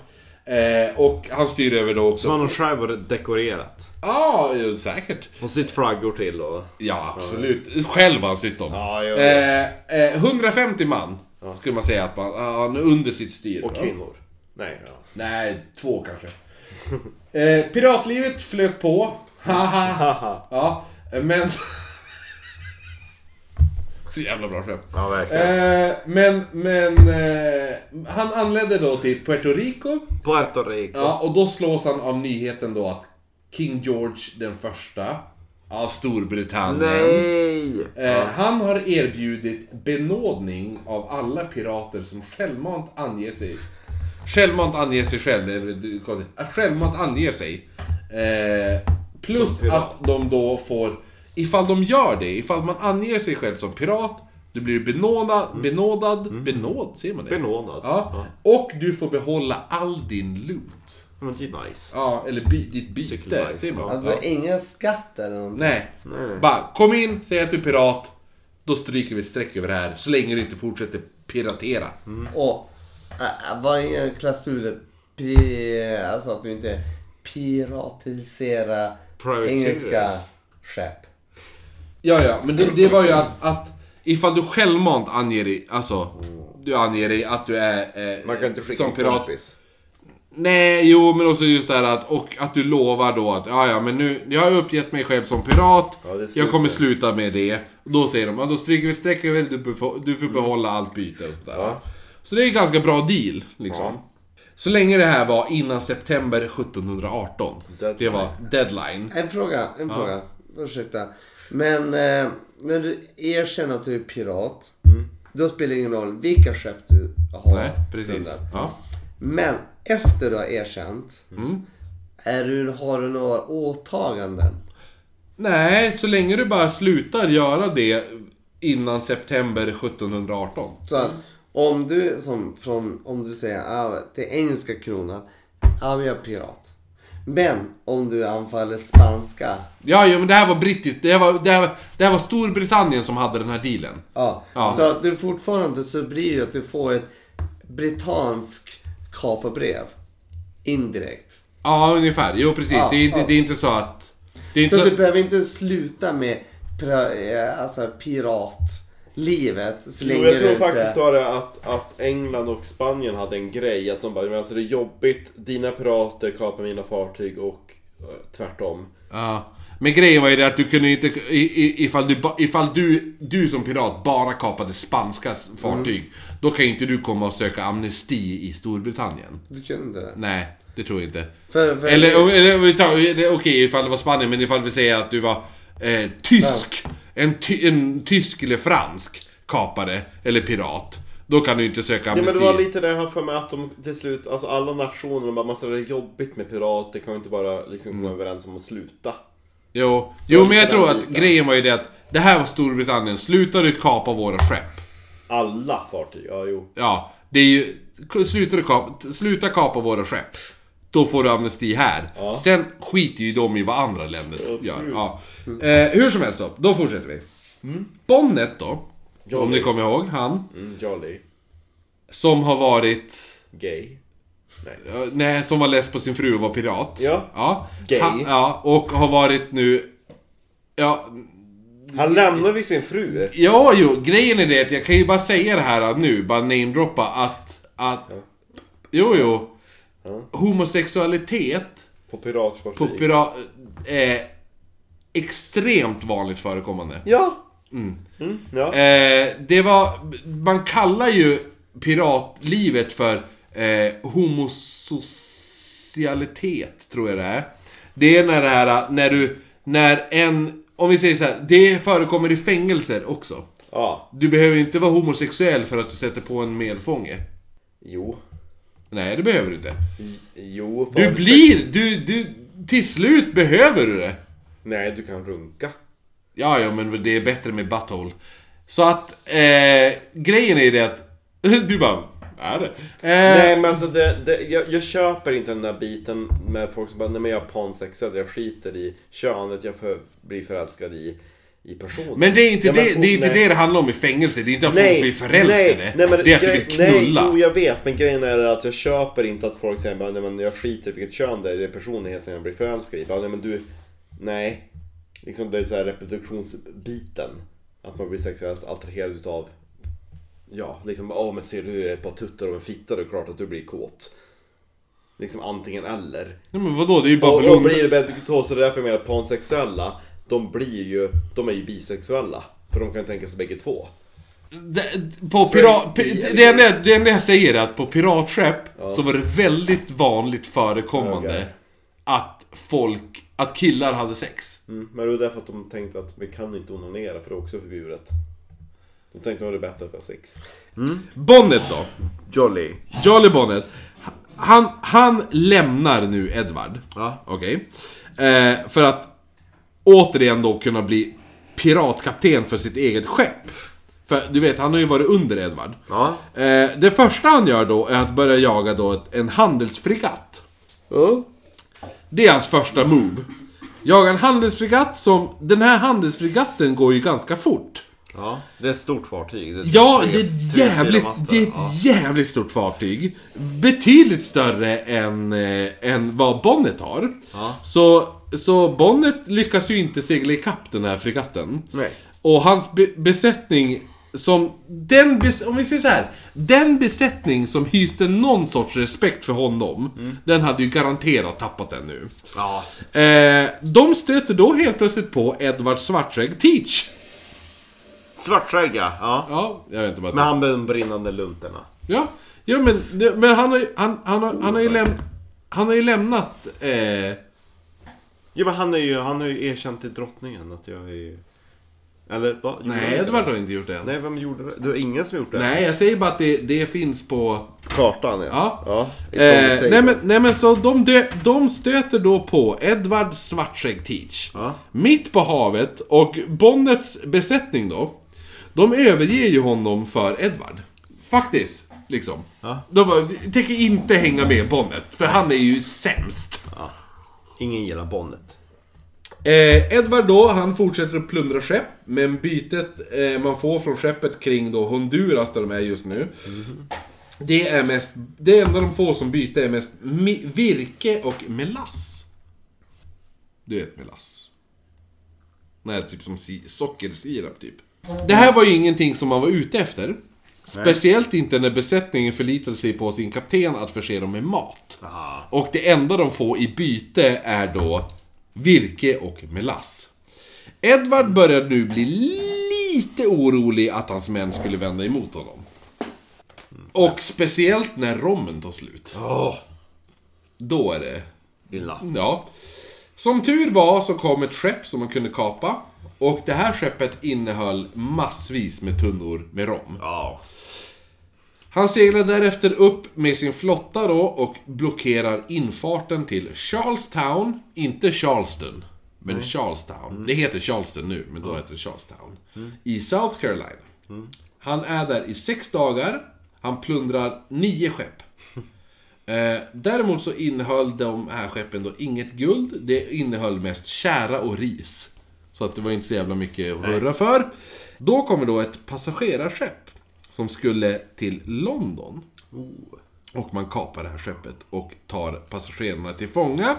Eh, och han styr över då också. har själv dekorerat. Ja, jo, säkert. Och sitt flaggor till och... Ja, absolut. Själv har han sytt om. Ja, ja, ja. eh, eh, 150 man skulle man säga att man, han är under sitt styr. Och kvinnor. Nej, ja. Nej, två kanske. Eh, piratlivet flöt på. Haha. Haha. Ja, men... Så jävla bra skämt. Ja, verkligen. Eh, men, men... Eh, han anlände då till Puerto Rico. Puerto Rico. Ja, och då slås han av nyheten då att King George den första av Storbritannien. Nej! Eh, han har erbjudit benådning av alla pirater som självmant anger sig. Självmant anger sig själv, eller du- konstigt. Att Självmant anger sig. Eh, plus Som pirat. att de då får, ifall de gör det, ifall man anger sig själv som pirat, du blir benådad, benådad, benåd, ser man det? Benådad. Ja. Och du får behålla all din loot. Men det är nice. Ja, eller by, ditt byte, Cykelbajs, säger man. Alltså ja. ingen skatt eller någonting. Nej. Nej. Bara, kom in, säg att du är pirat. Då stryker vi ett streck över det här, så länge du inte fortsätter piratera. Och äh, vad är en klausul? Pi- Alltså att du inte piratisera Private engelska series. skepp. Ja, ja, men det, det var ju att, att ifall du självmant anger dig, alltså, du anger dig att du är eh, Man kan inte skicka som en pirat. kompis. Nej, jo, men också just så här att, och att du lovar då att, ja, ja, men nu, jag har uppgett mig själv som pirat, Ja, det är slut jag kommer nu. sluta med det. Och då säger de, ja, då stryker vi ett streck över det, du, befo- du får behålla allt byte och sådär. Mm. Ja. Så det är en ganska bra deal, liksom. Ja. Så länge det här var innan september 1718. Det Deadline. var deadline. En fråga, en fråga. Ursäkta. Men eh, när du erkänner att du är pirat. Då spelar det ingen roll vilka skepp du har. Mm. Nej, precis. plundrat. Ja. Mm. Men efter du har erkänt. Är du, har du några åtaganden? Nej, så länge du bara slutar göra det innan september 1718. Så Mm. att om du som från, om du säger ah, det är engelska kronan, ja men jag är pirat. Men om du anfaller spanska, Ja, ja, men det här var brittiskt. Det här var, det här, var- det här var Storbritannien som hade den här dealen. ja. Ja. Så att du fortfarande så blir det ju att du får ett britansk kapabrev. Indirekt. Ja, ungefär. Jo, precis. Ja, det, är inte, ja. det är inte så att... Det är inte Så så, du behöver inte sluta med pra, eh, alltså, piratlivet så länge Jo, jag du tror inte... faktiskt var det att, att England och Spanien hade en grej att de bara, men alltså det är jobbigt, dina pirater kapar mina fartyg och eh, tvärtom. ja. Men grejen var ju det att du kunde inte... i- i- Ifall, du, ba- ifall du, du som pirat bara kapade spanska fartyg, Mm. då kan inte du komma och söka amnesti i Storbritannien. Du kunde det. Nej, det tror jag inte. För, för, Eller, eller vi tar- det är okej ifall det var Spanien, men ifall vi säger att du var eh, tysk. En, ty, en tysk eller fransk kapare, eller pirat. Då kan du inte söka Ja, amnesti. men det var lite det jag har för mig att de till slut, alltså alla nationer, de bara, man det är jobbigt med pirater, kan vi inte bara liksom komma överens om att sluta? Jo, jo men jag lite tror den att biten. grejen var ju det att det här var Storbritannien. Slutar du kapa våra skepp? Alla fartyg, ja jo. Ja, det är ju... Slutar du kapa, sluta kapa våra skepp. Då får du amnesti här. Ja. Sen skiter ju de i vad andra länder gör. Absolut. Ja. Eh, hur som helst då, då fortsätter vi. Mm. Bonnet då, om ni Johnny. kommer ihåg, han. Mm, jolly. Som har varit... Gay. eh, Nej, som var less på sin fru och var pirat. Ja. ja. Gay. Han, ja, och har varit nu... Ja, Han lämnade ju sin fru. ja, jo, grejen är det att jag kan ju bara säga det här nu, bara namedroppa att... att jo, jo. Homosexualitet På piratfartyg. på pirat... Eh, extremt vanligt förekommande. Ja! Mm, ja. Eh, det var... Man kallar ju piratlivet för eh, homosocialitet, tror jag det är. Det är när det här, när du... När en... Om vi säger så här, det förekommer i fängelser också. ja. Du behöver inte vara homosexuell för att du sätter på en medfånge. Jo. Nej, det behöver du inte. Jo, Du förutsätt- blir... Du, du... Till slut behöver du det. Nej, du kan runka. Ja, ja, men det är bättre med butthole. Så att, eh, grejen är ju det att... Du bara, är det? Eh, Nej, men alltså det, det, jag, jag köper inte den där biten med folk som bara, nej men jag är pansexuell, jag skiter i könet, jag för, blir förälskad i, i personen. Men det är inte, Ja, men det, folk- det, är inte nej. det det handlar om i fängelse. Det är inte att folk Nej, blir förälskade. nej, nej, men det är att du grej- vill knulla. Nej, jo jag vet, men grejen är att jag köper inte att folk säger bara, nej, men jag skiter i vilket kön det är, det är personligheten jag blir förälskad i. Bara, nej men du, nej. Liksom det är så här reproduktionsbiten. Att man blir sexuellt attraherad utav, ja liksom, åh men ser du ett par tuttar och en fitta, då är det klart att du blir kåt. Liksom antingen eller. Nej, men vadå? Det är ju bara Och, och blunda. blir det benediktos, så det är därför jag menar pansexuella, de blir ju, de är ju bisexuella. För de kan tänka sig bägge två. Det- På Straight pirat... bee, pi- eller- Det enda, jag- det enda jag säger är att på piratskepp så var det väldigt vanligt förekommande Okej. att folk... Att killar hade sex. Mm, men det var därför att de tänkte att vi kan inte onanera för det är också förbjudet. De tänkte nog det är bättre för sex. Bonnet då? Jolly. Jolly Bonnet. Han, han lämnar nu Edward. Ja. Okej. Eh, för att återigen då kunna bli piratkapten för sitt eget skepp. För du vet, han har ju varit under Edward. Ja. Eh, det första han gör då är att börja jaga då ett, en handelsfregatt. Det är hans första move. Jaga en handelsfregatt som... Den här handelsfregatten går ju ganska fort. ja. Det är typ ett stort fartyg. Ja, det är ett jävligt, det är ett jävligt stort fartyg. Betydligt större än, eh, än vad Bonnet har. Ja. Så, så Bonnet lyckas ju inte segla ikapp den här fregatten. Nej. Och hans be besättning som... Den bes om vi säger så här. Den besättning som hyste någon sorts respekt för honom, Mm. den hade ju garanterat tappat den nu. Ja. Eh, de stöter då helt plötsligt på Edward Svarträgg Teach. Svartskägga. Ja. Ja, jag vet inte vad Med han med de brinnande luntorna. Ja, ja men, det- men han har ju, han, han har, han har ju, läm, han har ju lämnat... Eh, Ja, men han, är ju, han har ju erkänt till drottningen att jag är... Eller vad? Gjorde han nej, inte Edward det? har inte gjort det än. Nej. Nej, vem gjorde det? Det var ingen som gjort det? jag säger bara att det, det finns på... Kartan ja. Ja. ja. It's on the Eh, table. nej, men, nej men så de, dö, de stöter då på Edward Svartsägg Teach. Ja. Mitt på havet och Bonnets besättning då. De överger ju honom för Edward. Faktiskt, liksom. Ja. De bara, "Vi tänker inte hänga med Bonnet, för han är ju sämst. Ingen gillar Bonnet. Eh, Edvard då, han fortsätter att plundra skepp, men bytet eh, man får från skeppet kring då Honduras där de är just nu Det är mest... Det enda de får som byte är mest mi- virke och melass. Du vet melass. Nej, typ som si- sockersirap typ. Det här var ju ingenting som man var ute efter. Speciellt inte när besättningen förlitade sig på sin kapten att förse dem med mat. Och det enda de får i byte är då virke och melass. Edvard började nu bli lite orolig att hans män skulle vända emot honom. Och speciellt när rommen tar slut. Åh, Då är det... illa. Ja. Som tur var så kom ett skepp som man kunde kapa. Och det här skeppet innehöll massvis med tunnor med rom. Ja. Han seglar därefter upp med sin flotta då och blockerar infarten till Charlestown, inte Charleston, men Charlestown. Det heter Charleston nu, men då heter det Charlestown. I South Carolina. Han är där i sex dagar. Han plundrar nio skepp. Eh, däremot så innehöll de här skeppen då inget guld. Det innehöll mest kära och ris. Så att det var inte så jävla mycket att hurra för. Då kommer då ett passagerarskepp som skulle till London. Och man kapar det här skeppet och tar passagerarna till fånga.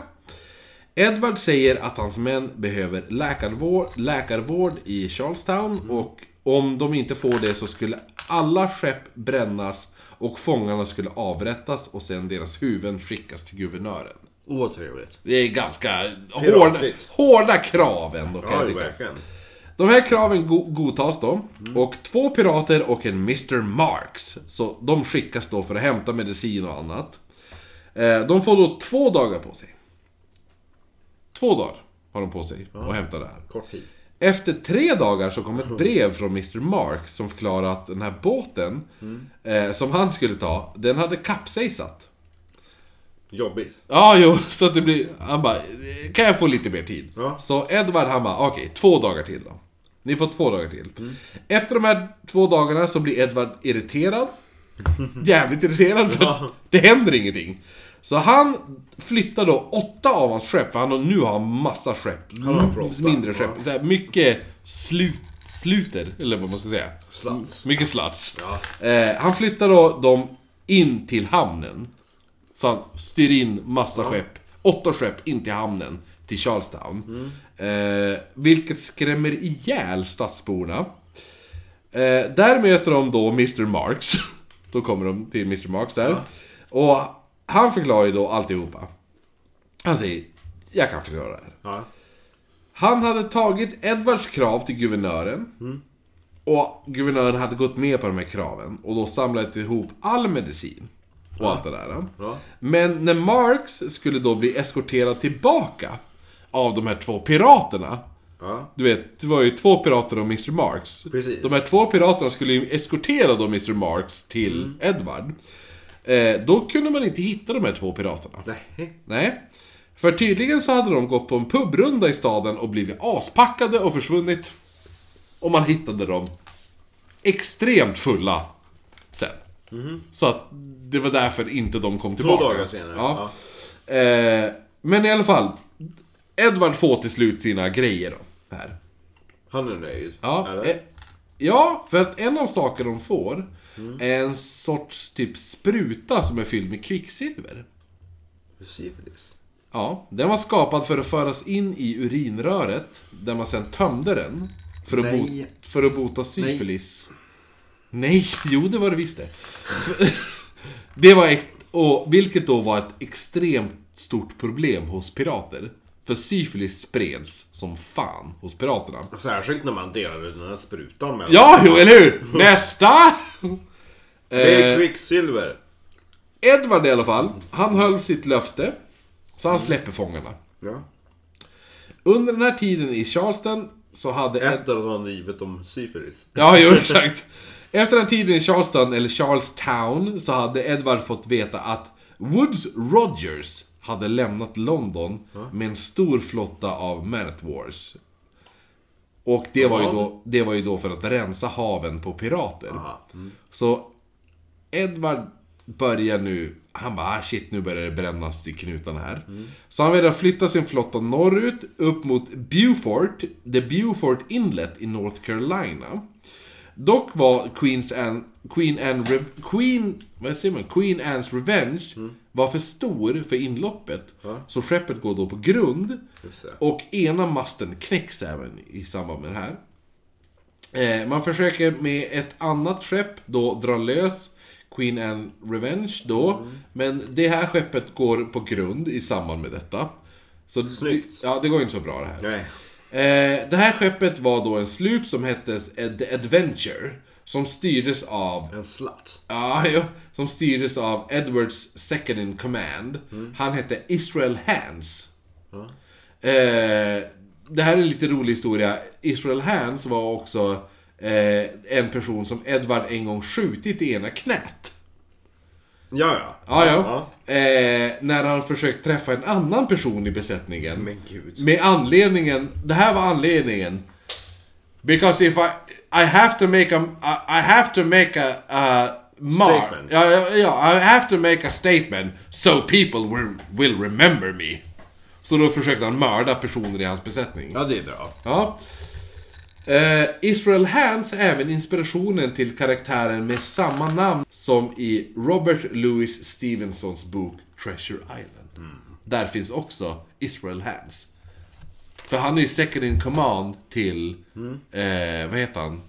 Edward säger att hans män behöver läkarvård, läkarvård i Charlestown och om de inte får det så skulle alla skepp brännas och fångarna skulle avrättas och sen deras huvuden skickas till guvernören. Otrevligt. Det är ganska Piratigt. hårda, hårda krav ändå kan Ja, jag ju tycka. verkligen. De här kraven go- godtas då. Och två pirater och en Mr. Marks. Så de skickas då för att hämta medicin och annat. Eh, De får då två dagar på sig. Två dagar har de på sig att hämta det här. Kort tid. Efter tre dagar så kom ett brev från Mr. Marks som förklarade att den här båten eh, som han skulle ta, den hade kapsejsat. Jobbigt. Ja, jo, så att det blir... Han bara, kan jag få lite mer tid? Ja. Så Edvard han bara, okej, två dagar till då. Ni får två dagar till. Mm. Efter de här två dagarna så blir Edvard irriterad. Jävligt irriterad, för det händer ingenting. Så han flyttar då åtta av hans skepp, för han har, nu har han massa skepp. har en flotta. Mindre skepp. Så här, mycket slut, sluter, eller vad man ska säga. Slats. Mycket slats. Eh, han flyttar då dem in till hamnen. Så han styr in massa skepp, åtta skepp in till hamnen, till Charlestown. Eh, vilket skrämmer ihjäl stadsborna. Eh, där möter de då Mr. Marks. då kommer de till Mr. Marks där. Och han förklarar ju då alltihopa. Han säger, jag kan förklara det här. Ja. Han hade tagit Edwards krav till guvernören. Mm. Och guvernören hade gått med på de här kraven och då samlat ihop all medicin. Och allt det där. Ja. Men när Marx skulle då bli eskorterad tillbaka av de här två piraterna. Ja. Du vet, det var ju två pirater och Mr. Marx. Precis. De här två piraterna skulle ju eskortera då Mr. Marx till Mm. Edward. Eh, då kunde man inte hitta de här två piraterna. Nej. Nej. För tydligen så hade de gått på en pubrunda i staden och blivit aspackade och försvunnit. Och man hittade dem extremt fulla sen. Så att det var därför inte de kom tillbaka. Mhm. dagar senare, Ja. Eh, men i alla fall. Edvard får till slut sina grejer då. Här. Han är nöjd. Ja, Eller? eh, ja, för att en av sakerna de får Mm. är en sorts typ spruta som är fylld med kvicksilver. Syfilis. Ja, den var skapad för att föras in i urinröret där man sen tömde den för att, bo- Nej. för att bota syfilis. Nej. jo det var det visst det. det var ett, och vilket då var ett extremt stort problem hos pirater. För syfilis spreds som fan hos piraterna. Särskilt när man delade den här sprutan med Ja, jo, eller hur? Nästa! Det eh. är kvicksilver. Edvard i alla fall, han höll sitt löfte. Så han släpper fångarna. Ja. Under den här tiden i Charleston så hade... Ed- Efter att han givit dem syfilis. ja, jo, exakt. Efter den här tiden i Charleston, eller Charlestown, så hade Edward fått veta att Woods Rogers hade lämnat London med en stor flotta av Merit Wars. Och det var, ju då, det var ju då för att rensa haven på pirater. Aha. Mm. Så Edvard börjar nu, han bara ah, shit nu börjar det brännas i knutarna här. Så han väljer att flytta sin flotta norrut, upp mot Beaufort, the Beaufort Inlet i North Carolina. Dock var Queens Anne, Queen Anne, Re- Queen, vad säger man? Queen Anne's Revenge var för stor för inloppet. Så skeppet går då på grund. Just det. Och ena masten knäcks även i samband med det här. Eh, man försöker med ett annat skepp då dra lös Queen Anne Revenge då. Men det här skeppet går på grund i samband med detta. Så Snyggt. Det, ja, det går inte så bra det här. Nej. Eh, det här skeppet var då en slup som hette The Adventure. Som styrdes av En slatt. Ja, jo. Som styrdes av Edwards second in command. Han hette Israel Hands. Eh, det här är en lite rolig historia. Israel Hands var också eh, en person som Edward en gång skjutit i ena knät. Ja, ja. Ja, ja. Eh, när han försökt träffa en annan person i besättningen. Men gud. Med anledningen, det här var anledningen. Because if I, I have to make a, I, I have to make a, a mark. Statement. Ja, ja, ja, I have to make a statement so people will, will remember me. Så då försökte han mörda personer i hans besättning. Ja, det är bra. Ja. Eh, Israel Hands är även inspirationen till karaktären med samma namn som i Robert Louis Stevensons bok Treasure Island. Mm. Där finns också Israel Hands. För han är ju second in command till, eh, vad heter han?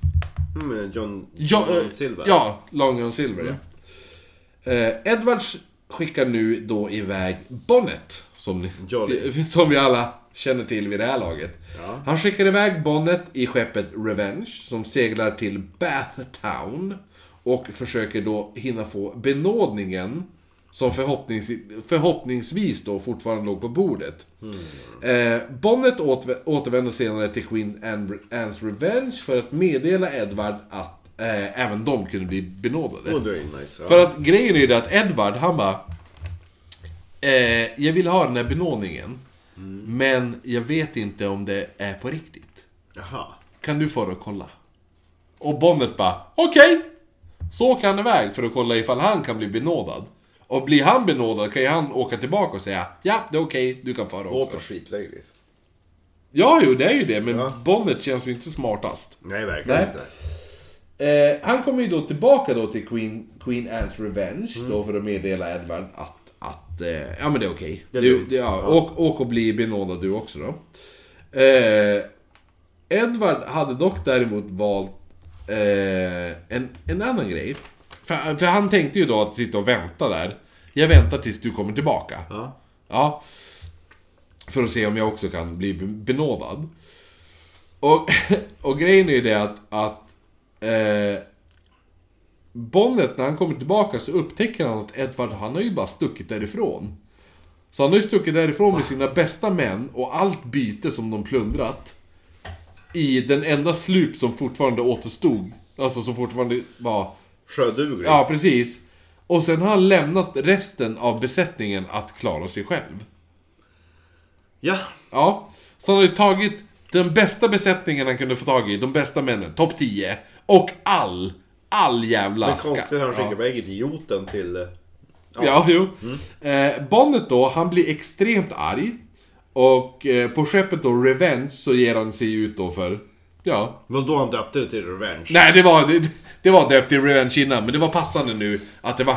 Mm, John, Ja, John eh, Silver. Mm. Ja, Long John Silver ja. Eh, Edwards skickar nu då iväg Bonnet. Som, ni, Jolly. som vi alla känner till vid det här laget. Ja. Han skickar iväg Bonnet i skeppet Revenge som seglar till Bath Town. Och försöker då hinna få benådningen som förhoppnings, förhoppningsvis då fortfarande låg på bordet. Eh, Bonnet återvä- återvänder senare till Queen Anne- Anne's Revenge för att meddela Edward att eh, även de kunde bli benådade. Oh, det är nice. Ja. För att grejen är ju det att Edward, han bara... Eh, jag vill ha den här benådningen. Men jag vet inte om det är på riktigt. Jaha. Kan du få det och kolla? Och Bonnet bara, okej! Så åker han iväg för att kolla ifall han kan bli benådad. Och blir han benådad kan ju han åka tillbaka och säga, ja det är okej, du kan få det också. Låter skitlägligt. Ja, jo det är ju det, men Ja. Bonnet känns ju inte smartast. Nej, verkligen Nej. inte. Eh, han kommer ju då tillbaka då till Queen, Queen Anne's Revenge Mm. då för att meddela Edward att, att eh, ja men det är okej. Det är Du- lugnt. det- Ja, åk, åk och bli benådad du också då. Eh, Edward hade dock däremot valt eh, en, en annan grej. För, för han tänkte ju då att sitta och vänta där. Jag väntar tills du kommer tillbaka. Ja. Ja. För att se om jag också kan bli benådad. Och, och grejen är ju det att, att eh, Bonnet, när han kommer tillbaka så upptäcker han att Edward, han har ju bara stuckit därifrån. Så han har ju stuckit därifrån med sina bästa män och allt byte som de plundrat. I den enda slup som fortfarande återstod. Alltså som fortfarande var... Sjöduglig. Ja, precis. Och sen har han lämnat resten av besättningen att klara sig själv. Ja. Ja, så han har ju tagit den bästa besättningen han kunde få tag i, de bästa männen, topp 10. Och all, all jävla Men konstigt att han Ja. skickar iväg idioten till... eh, Ja, jo. Mm. Eh, Bonnet då, han blir extremt arg. Och eh, på skeppet då, Revenge, så ger han sig ut då för... Ja. Men då han döpte det till Revenge. Nej, det var, det, det var döpt till Revenge innan, men det var passande nu att det var...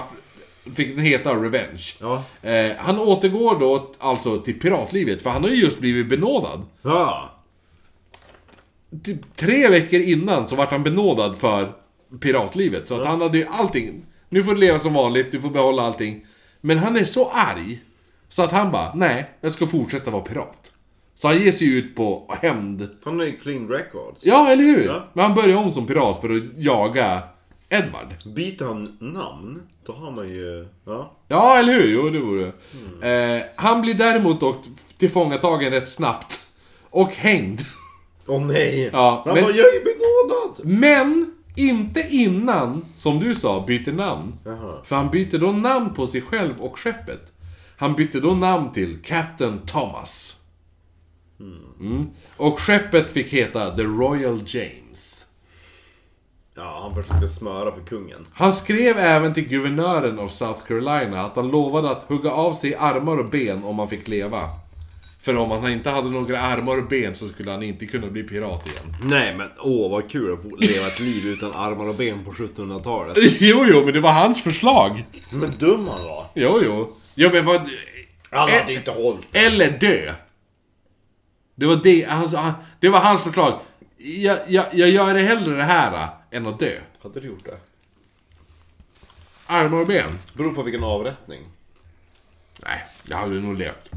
Fick den heta Revenge. Ja. Eh, han återgår då t- alltså till piratlivet, för han har ju just blivit benådad. Ja. Typ tre veckor innan så vart han benådad för piratlivet. Så att han hade ju allting. Nu får du leva som vanligt, du får behålla allting. Men han är så arg. Så att han bara, nej, jag ska fortsätta vara pirat. Så han ger sig ut på hämnd. Han har ju clean records. Ja, eller hur? Ja. Men han börjar om som pirat för att jaga Edward. Byter han namn, då har man ju... Ja. Ja, eller hur? Jo, det vore det. Eh, han blir däremot dock tillfångatagen rätt snabbt. Och hängd. Åh nej! Ja, han men- bara, jag är benådad! Men inte innan, som du sa, byter namn. Jaha. För han byter då namn på sig själv och skeppet. Han bytte då namn till Captain Thomas. Mm. Och skeppet fick heta The Royal James. Ja, han försökte smöra för kungen. Han skrev även till guvernören av South Carolina att han lovade att hugga av sig armar och ben om han fick leva. För om han inte hade några armar och ben så skulle han inte kunna bli pirat igen. Nej men åh vad kul att få leva ett liv utan armar och ben på 1700-talet. Jo, jo, men det var hans förslag. Men dum han var. Jo, jo. Ja, men vad... Han hade inte hållit. Eller dö. Det var, det, han, han, det var hans förslag. Jag, jag, jag gör det hellre det här äh, än att dö. Hade du gjort det? Armar och ben? Beror på vilken avrättning. Nej, jag hade nog levt.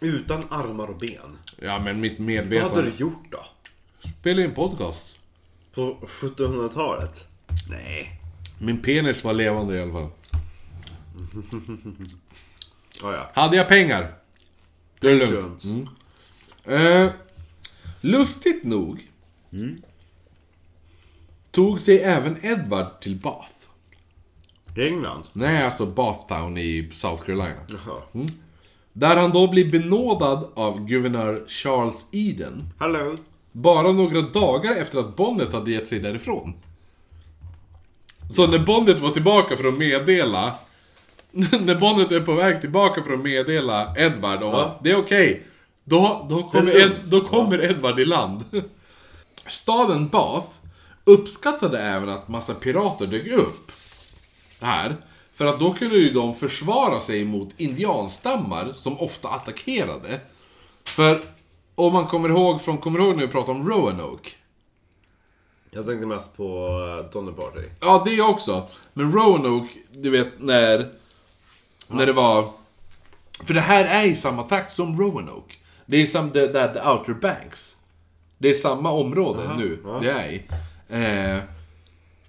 Utan armar och ben. Ja, men mitt Vad hade medvetande... du gjort då? Spela in podcast. På 1700-talet? Nej. Min penis var levande i alla fall. Ah, ja. Hade jag pengar? Det är lugnt. Jones. Eh, lustigt nog tog sig även Edward till Bath. I England? Mm. Nej, alltså Bathtown i South Carolina. Jaha. Där han då blir benådad av guvernör Charles Eden. Hello. Bara några dagar efter att Bonnet hade gett sig därifrån. Så när Bonnet var tillbaka för att meddela... När Bonnet är på väg tillbaka för att meddela Edvard om att det är okej. då, då, kommer Det är Ed, lugnt. då kommer Edvard i land. Staden Bath uppskattade även att massa pirater dök upp. Här. För att då kunde ju de försvara sig mot indianstammar som ofta attackerade. För om man kommer ihåg från, kommer du ihåg när vi pratade om Roanoke? Jag tänkte mest på uh, Donner Party. Ja, det också. Men Roanoke, du vet när... När det var... För det här är i samma trakt som Roanoke. Det är som det, där the Outer Banks. Det är samma område nu det är i. Eh,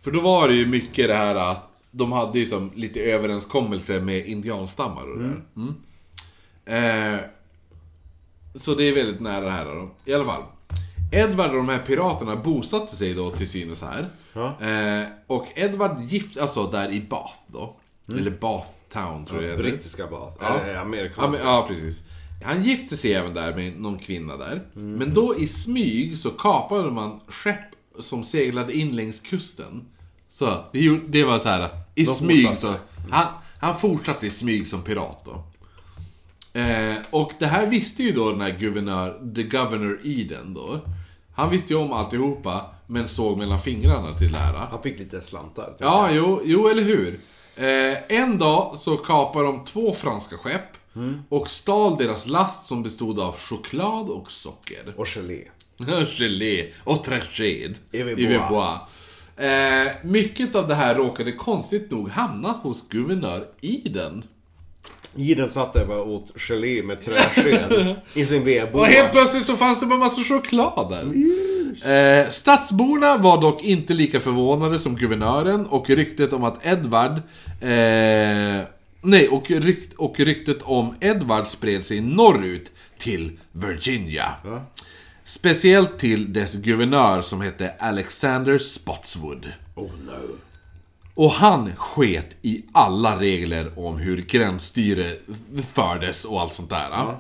för då var det ju mycket det här att de hade ju som lite överenskommelse med indianstammar och det där. Mm. Eh, så det är väldigt nära det här då. I alla fall. Edvard och de här piraterna bosatte sig då till synes här. Ja. Eh, och Edvard gift, alltså där i Bath då. Eller Bath Town tror jag det heter. Brittiska Bath. Ja. Eller Ja, men, amerikanska. ja, precis. Han gifte sig även där med någon kvinna där. Men då i smyg så kapade man skepp som seglade in längs kusten. Så det, gjorde- det var så här i smyg så... Han, han fortsatte i smyg som pirat då. Eh, och det här visste ju då den här guvernör, the governor Eden då. Han visste ju om alltihopa, men såg mellan fingrarna till det här. Han fick lite slantar. typ. Ja, jo, jo eller hur. Eh, en dag så kapar de två franska skepp och stal deras last som bestod av choklad och socker. Och gelé. Gelé och traged. Yves Yves Bois. Bois. Eh, mycket av det här råkade konstigt nog hamna hos guvernör Eden. I den satt jag bara och åt gelé med träsked i sin vedboa. Och helt plötsligt så fanns det bara massa choklad där. Eh, stadsborna var dock inte lika förvånade som guvernören och ryktet om att Edvard... Eh, nej, och, rykt, och ryktet om Edvard spred sig norrut till Virginia. Speciellt till dess guvernör som hette Alexander Spotswood. Oh no. Och han sket i alla regler om hur gränsstyre fördes och allt sånt där.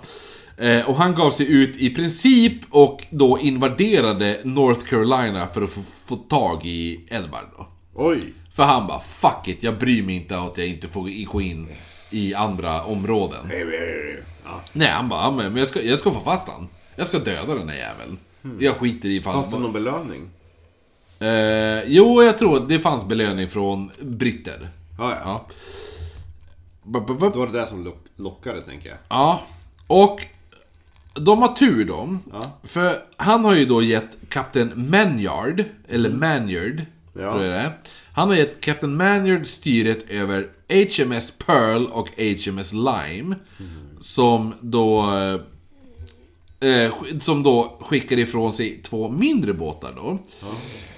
Eh, Och han gav sig ut i princip och då invaderade North Carolina för att få, få tag i Edvard då. Oj. För han bara 'Fuck it, jag bryr mig inte att jag inte får gå in i andra områden' Ja. Nej, han bara "Ja, men jag ska, jag ska få fast han. Jag ska döda den där jäveln. Jag skiter i ifall... Fanns det någon belöning? Eh, jo, jag tror att det fanns belöning från britter. Ja, ja. Ja. Bup, bup, bup. Då var det där som lock- lockade, tänker jag. Ja, och de har tur då. Ja. För han har ju då gett kapten Manyard, eller Manyard, Mm. Ja. tror jag det är. Han har gett kapten Manyard styret över HMS Pearl och HMS Lime. Mm. Som då... Eh, sk- som då skickar ifrån sig två mindre båtar då.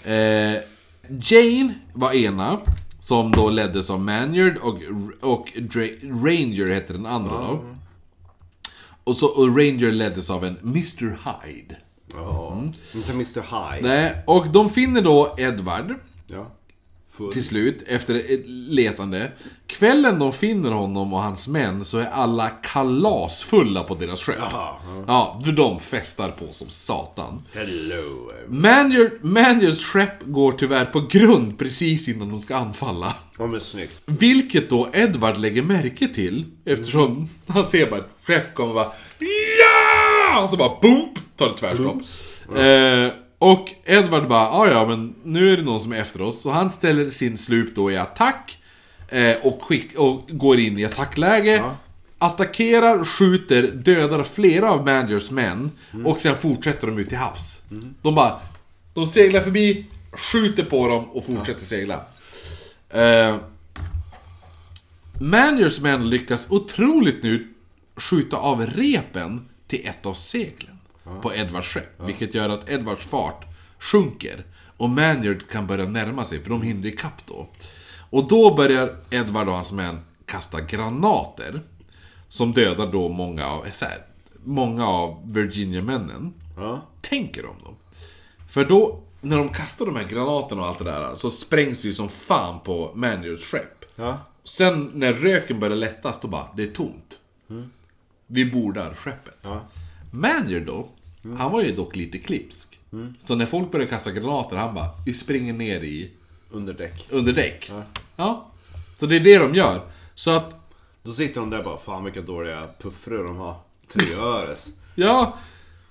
Eh, Jane var ena, som då leddes av Manyard och, och Dra- Ranger hette den andra då. Och, så, och Ranger leddes av en Mr Hyde. Ja. Mm. Inte Mr High. Nej, och de finner då Edward Ja. Full. till slut, efter ett letande. Kvällen de finner honom och hans män så är alla kalasfulla på deras skepp. Jaha. Ja, för de festar på som satan. Hello. Manyard- Manyards skepp går tyvärr på grund precis innan de ska anfalla. Ja, men snyggt. Vilket då Edward lägger märke till eftersom han ser bara ett skepp komma och bara Och så bara boom! Tar det tvärstopp. Eh, och Edward bara, "Ah, ja men nu är det någon som är efter oss. Så han ställer sin slup då i attack. Eh, och, skick, och går in i attackläge. Attackerar, skjuter, dödar flera av Managers män. Och sen fortsätter de ut till havs. De bara, de seglar förbi, skjuter på dem och fortsätter segla. Eh, Managers män lyckas otroligt nu skjuta av repen till ett av seglen på Edvards skepp. Vilket gör att Edvards fart sjunker. Och Maniard kan börja närma sig, för de hinner ikapp då. Och då börjar Edvard och hans män kasta granater. Som dödar då många av, så här, många av Virginia-männen. Ja. Tänker om dem. För då, när de kastar de här granaterna och allt det där, så sprängs det ju som fan på Maniards skepp. Ja. Sen när röken börjar lättas, då bara, det är tomt. Vi bordar skeppet. Manier då, han var ju dock lite klipsk. Så när folk började kasta granater, han bara, vi springer ner i, Under däck. under däck. Ja. Så det är det de gör. Så att, Då sitter de där och bara, fan vilka dåliga puffror de har. Tre öres. ja.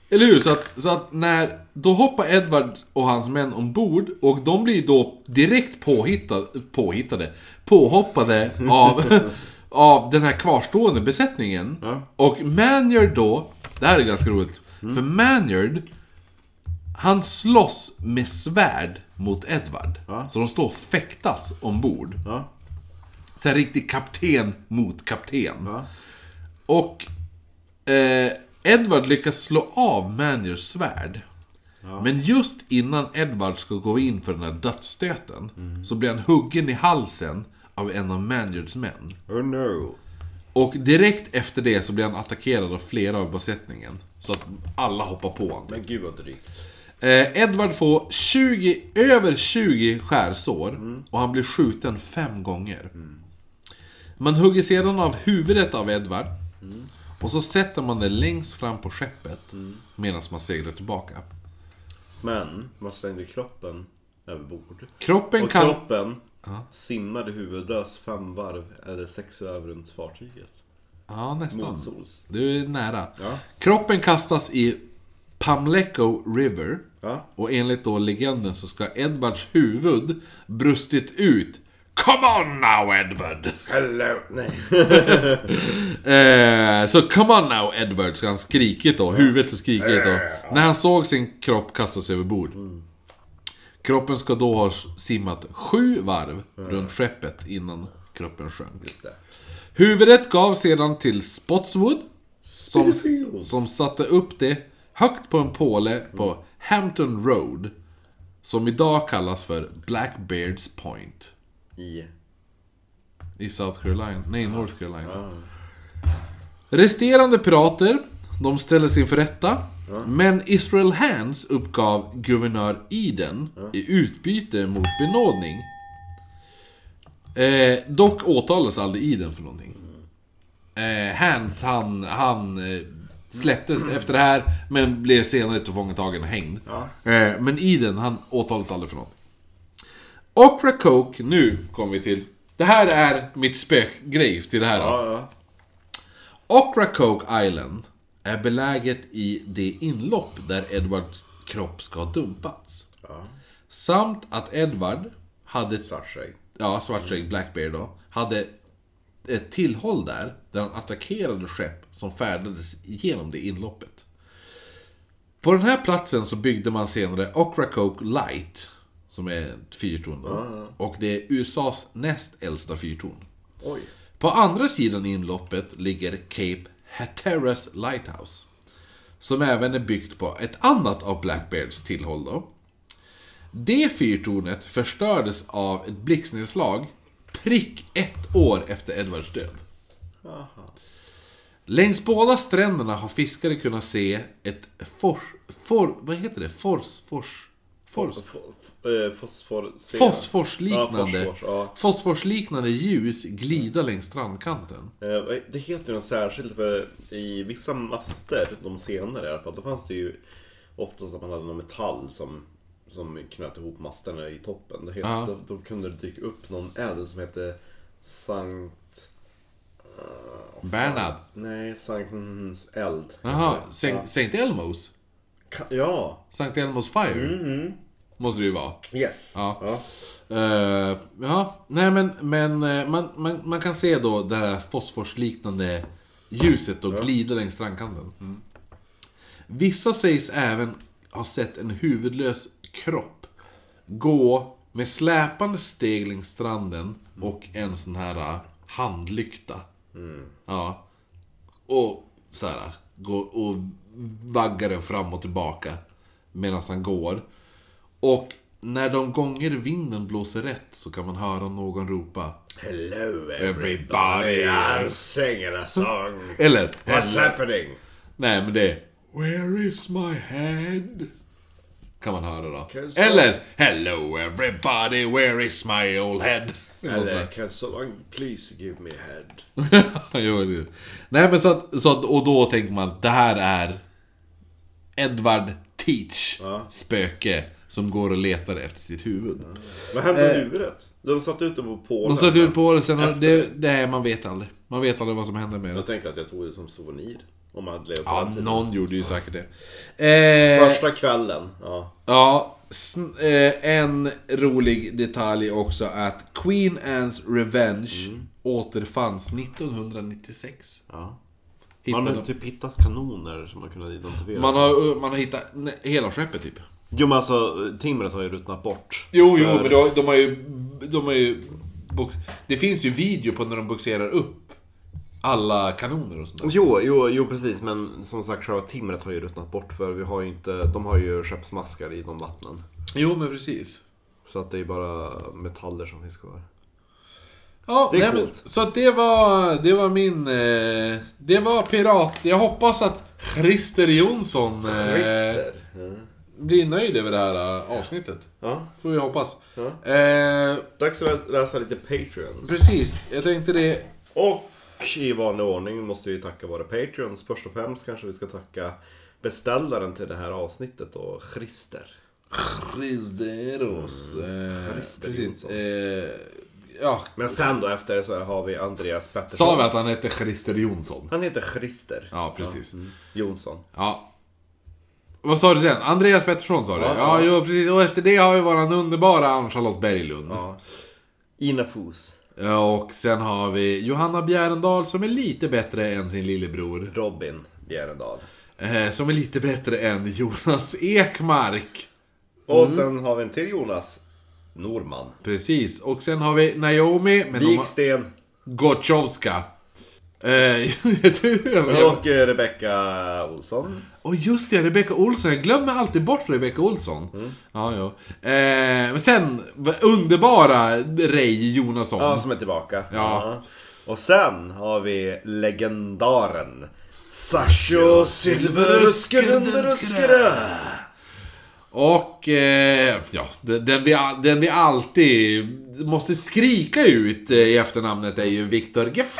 Eller hur? Så att, så att när, då hoppar Edward och hans män ombord och de blir då direkt påhittade, påhittade påhoppade av, av den här kvarstående besättningen. Ja. Och Maniard då, det här är ganska roligt, för Mm. Maniard Han slåss med svärd mot Edvard. Ja. Så de står och fäktas ombord. Ja. Så här riktig kapten mot kapten. Ja. Och eh, Edvard lyckas slå av Maniers svärd. Men just innan Edvard ska gå in för den här dödsstöten så blir han huggen i halsen av en av Maniards män. Oh no. Och direkt efter det så blir han attackerad av flera av besättningen. Så att alla hoppar på honom. Men gud vad drygt. Eh, Edvard får 20, över 20 skärsår och han blir skjuten fem gånger. Man hugger sedan av huvudet av Edvard och så sätter man det längst fram på skeppet medan man seglar tillbaka. Men man slängde kroppen över bord. Kroppen Och kan... kroppen simmade huvudlös fem varv, eller sex varv runt fartyget. Ja, nästan. Mot sols. Du är nära. Ja. Kroppen kastas i Pamleco River. Ja. Och enligt då legenden så ska Edvards huvud brustit ut. Come on now Edward! Hello! Nej. Eh, så come on now Edward, ska han skrikit då. Huvudet så skrikit då. När han såg sin kropp kastas över bord. Mm. Kroppen ska då ha simmat sju varv runt skeppet innan kroppen sjönk. Just det. Huvudet gavs sedan till Spotswood. Som, Spitalfields. som satte upp det högt på en påle på Mm. Hampton Road. Som idag kallas för Blackbeards Point. I... I South Carolina, nej North Carolina. Resterande pirater, de ställdes inför rätta. Men Israel Hands uppgav guvernör Eden i utbyte mot benådning. Eh, dock åtalades aldrig Eden för någonting. Eh, Hands, han, han eh, släpptes efter det här, men blev senare tillfångatagen och hängd. Eh, men Eden, han åtalades aldrig för någonting. Opera Coke, nu kommer vi till... Det här är mitt spökgrej till det här. då. Ja, ja. Ocracoke Island är beläget i det inlopp där Edwards kropp ska ha dumpats. ja. Samt att Edward hade, Svartskägg. ja Svartskägg Blackbeard då, hade ett tillhåll där, där han attackerade skepp som färdades genom det inloppet. På den här platsen så byggde man senare Ocracoke Light, som är ett fyrtorn då. Och det är USAs näst äldsta fyrtorn. Oj. På andra sidan inloppet ligger Cape Hatteras Lighthouse. Som även är byggt på ett annat av Blackbeards tillhåll då. Det fyrtornet förstördes av ett blixtnedslag prick ett år efter Edwards död. Längs båda stränderna har fiskare kunnat se ett fors... For, vad heter det? Fors... Fors... Fors... Fo- f- eh, Fosfor... se- Fosforsliknande, Ja, fosfors, ja. fosforsliknande ljus glida längs strandkanten. Eh, vad- Det heter ju något särskilt för i vissa master, de senare i alla fall, då fanns det ju oftast att man hade någon metall som, som knöt ihop masterna i toppen. Det heter, Ja. då, då kunde det dyka upp någon eld som hette Sankt... eh, Bernhard. Nej, Sanktens eld. Jaha, Saint- Saint Elmos? Ka- Ja. Sankt Elmos Fire? Måste det ju vara. Yes. Ja. ja. Eh, ja, nej men, men eh, man, man, man kan se då det här fosforsliknande ljuset och glida längs strandkanten. Vissa sägs även ha sett en huvudlös kropp gå med släpande steg längs stranden och en sån här eh, handlykta. Ja. Och så här, gå och vaggar den fram och tillbaka medan han går. Och när de gånger vinden blåser rätt så kan man höra någon ropa. Hello Everybody everybody, I'm singing a song. Eller? What's happening? Nej, men det är... Where is my head? Kan man höra då. Kan så- Eller? Hello everybody, where is my old head? Och sådär. Eller can someone please give me a head? jo, det. Nej men så att, så att, och då tänker man att det här är Edward Teach Ja. spöke som går och letar efter sitt huvud. Vad hände med huvudet? De satte ut det på Polen. De satte ut på det sen, och det, det, man vet aldrig. Man vet aldrig vad som händer med det. Jag tänkte att jag tog det som souvenir. Om man hade levt på Typ. Ja, den tiden. någon gjorde ju säkert det. Eh, Första kvällen. Ja. ja, sn- eh, en rolig detalj också att Queen Anne's Revenge återfanns 1996. ja. Hittade Man har de- typ hittat kanoner som man kunnat identifiera. man, har, eh, man har hittat ne- hela skeppet typ. Jo men alltså, timret har ju ruttnat bort. Jo, jo, För- men då, de har ju... De har ju box, det finns ju video på när de boxerar upp alla kanoner och sånt där. Jo, jo, jo precis. Men som sagt, själva timret har ju ruttnat bort. För vi har ju inte, de har ju skeppsmaskar i de vattnen. Jo, men precis. Så att det är bara metaller som finns kvar. Ja, Det är nej, coolt. men, så att det var, det var min... Eh, det var pirat. Jag hoppas att Christer Jonsson eh, Christer. Mm. blir nöjd över det här eh, avsnittet. Ja. Får vi hoppas. Eh, Dags att lä- läsa lite Patreons. precis, jag tänkte det. Och i vanlig ordning måste vi tacka våra Patreons. Först och främst kanske vi ska tacka beställaren till det här avsnittet då, Christer. Christeros. Eh, Christer precis, Jonsson. eh, ja. Men sen då efter det så har vi Andreas Pettersson. Sa vi att han hette Christer Jonsson? Han heter Christer. Ja, precis. Mm. Jonsson. Ja. Vad sa du sen? Andreas Pettersson sa du? Ja, ja. Ja, ja. Jo, precis. Och efter det har vi våran underbara Ann-Charlotte Berglund. Ja. Ina Fos. Ja, Eh, Och sen har vi Johanna Bjärendal som är lite bättre än sin lillebror. Robin Bjerendal. Eh, som är lite bättre än Jonas Ekmark. Mm. Och sen har vi en till Jonas Norman. Precis. Och sen har vi Naomi men hon har- Viksten Gotchowska. Eh, och eh, Rebecka Olsson. Och just det, Rebecca Olsson. Jag glömmer alltid bort Rebecca Olsson. Ja, ja. Eh, men sen, v- underbara Rej Jonasson. Ja, som är tillbaka. Ja. Och sen har vi legendaren Sasho Silveruskerunderuskere. Och eh, ja, den, den, vi, all- den vi alltid måste skrika ut eh, i efternamnet är ju Viktor Gefärt!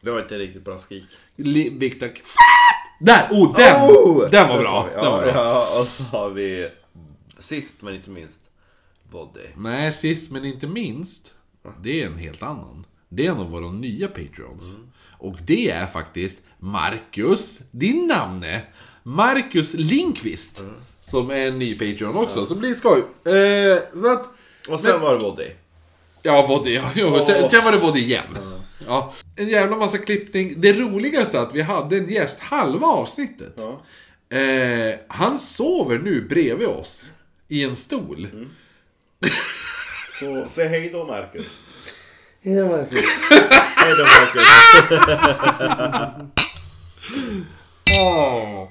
Det var inte riktigt bra skrik. Li- Viktor Gefärt! Där! Oh, den! Oh! den var Den bra! tar vi. Den var Ja, bra. ja, och så har vi sist men inte minst Body. Nej, sist men inte minst. Det är en helt annan. Det är en av våra nya Patreons. Och det är faktiskt Marcus, din namne. Marcus Linkvist. Som är en ny Patreon också, så det blir skoj. Eh, så att... Och sen var det Body. Ja, vad det, ja, ja. Sen, Åh. sen var det vad det igen. Ja. En jävla massa klippning. Det roligaste är att vi hade en gäst halva avsnittet. Eh, han sover nu bredvid oss i en stol. Så säg hej då Marcus. Hej Marcus. Hej då Marcus. Åh.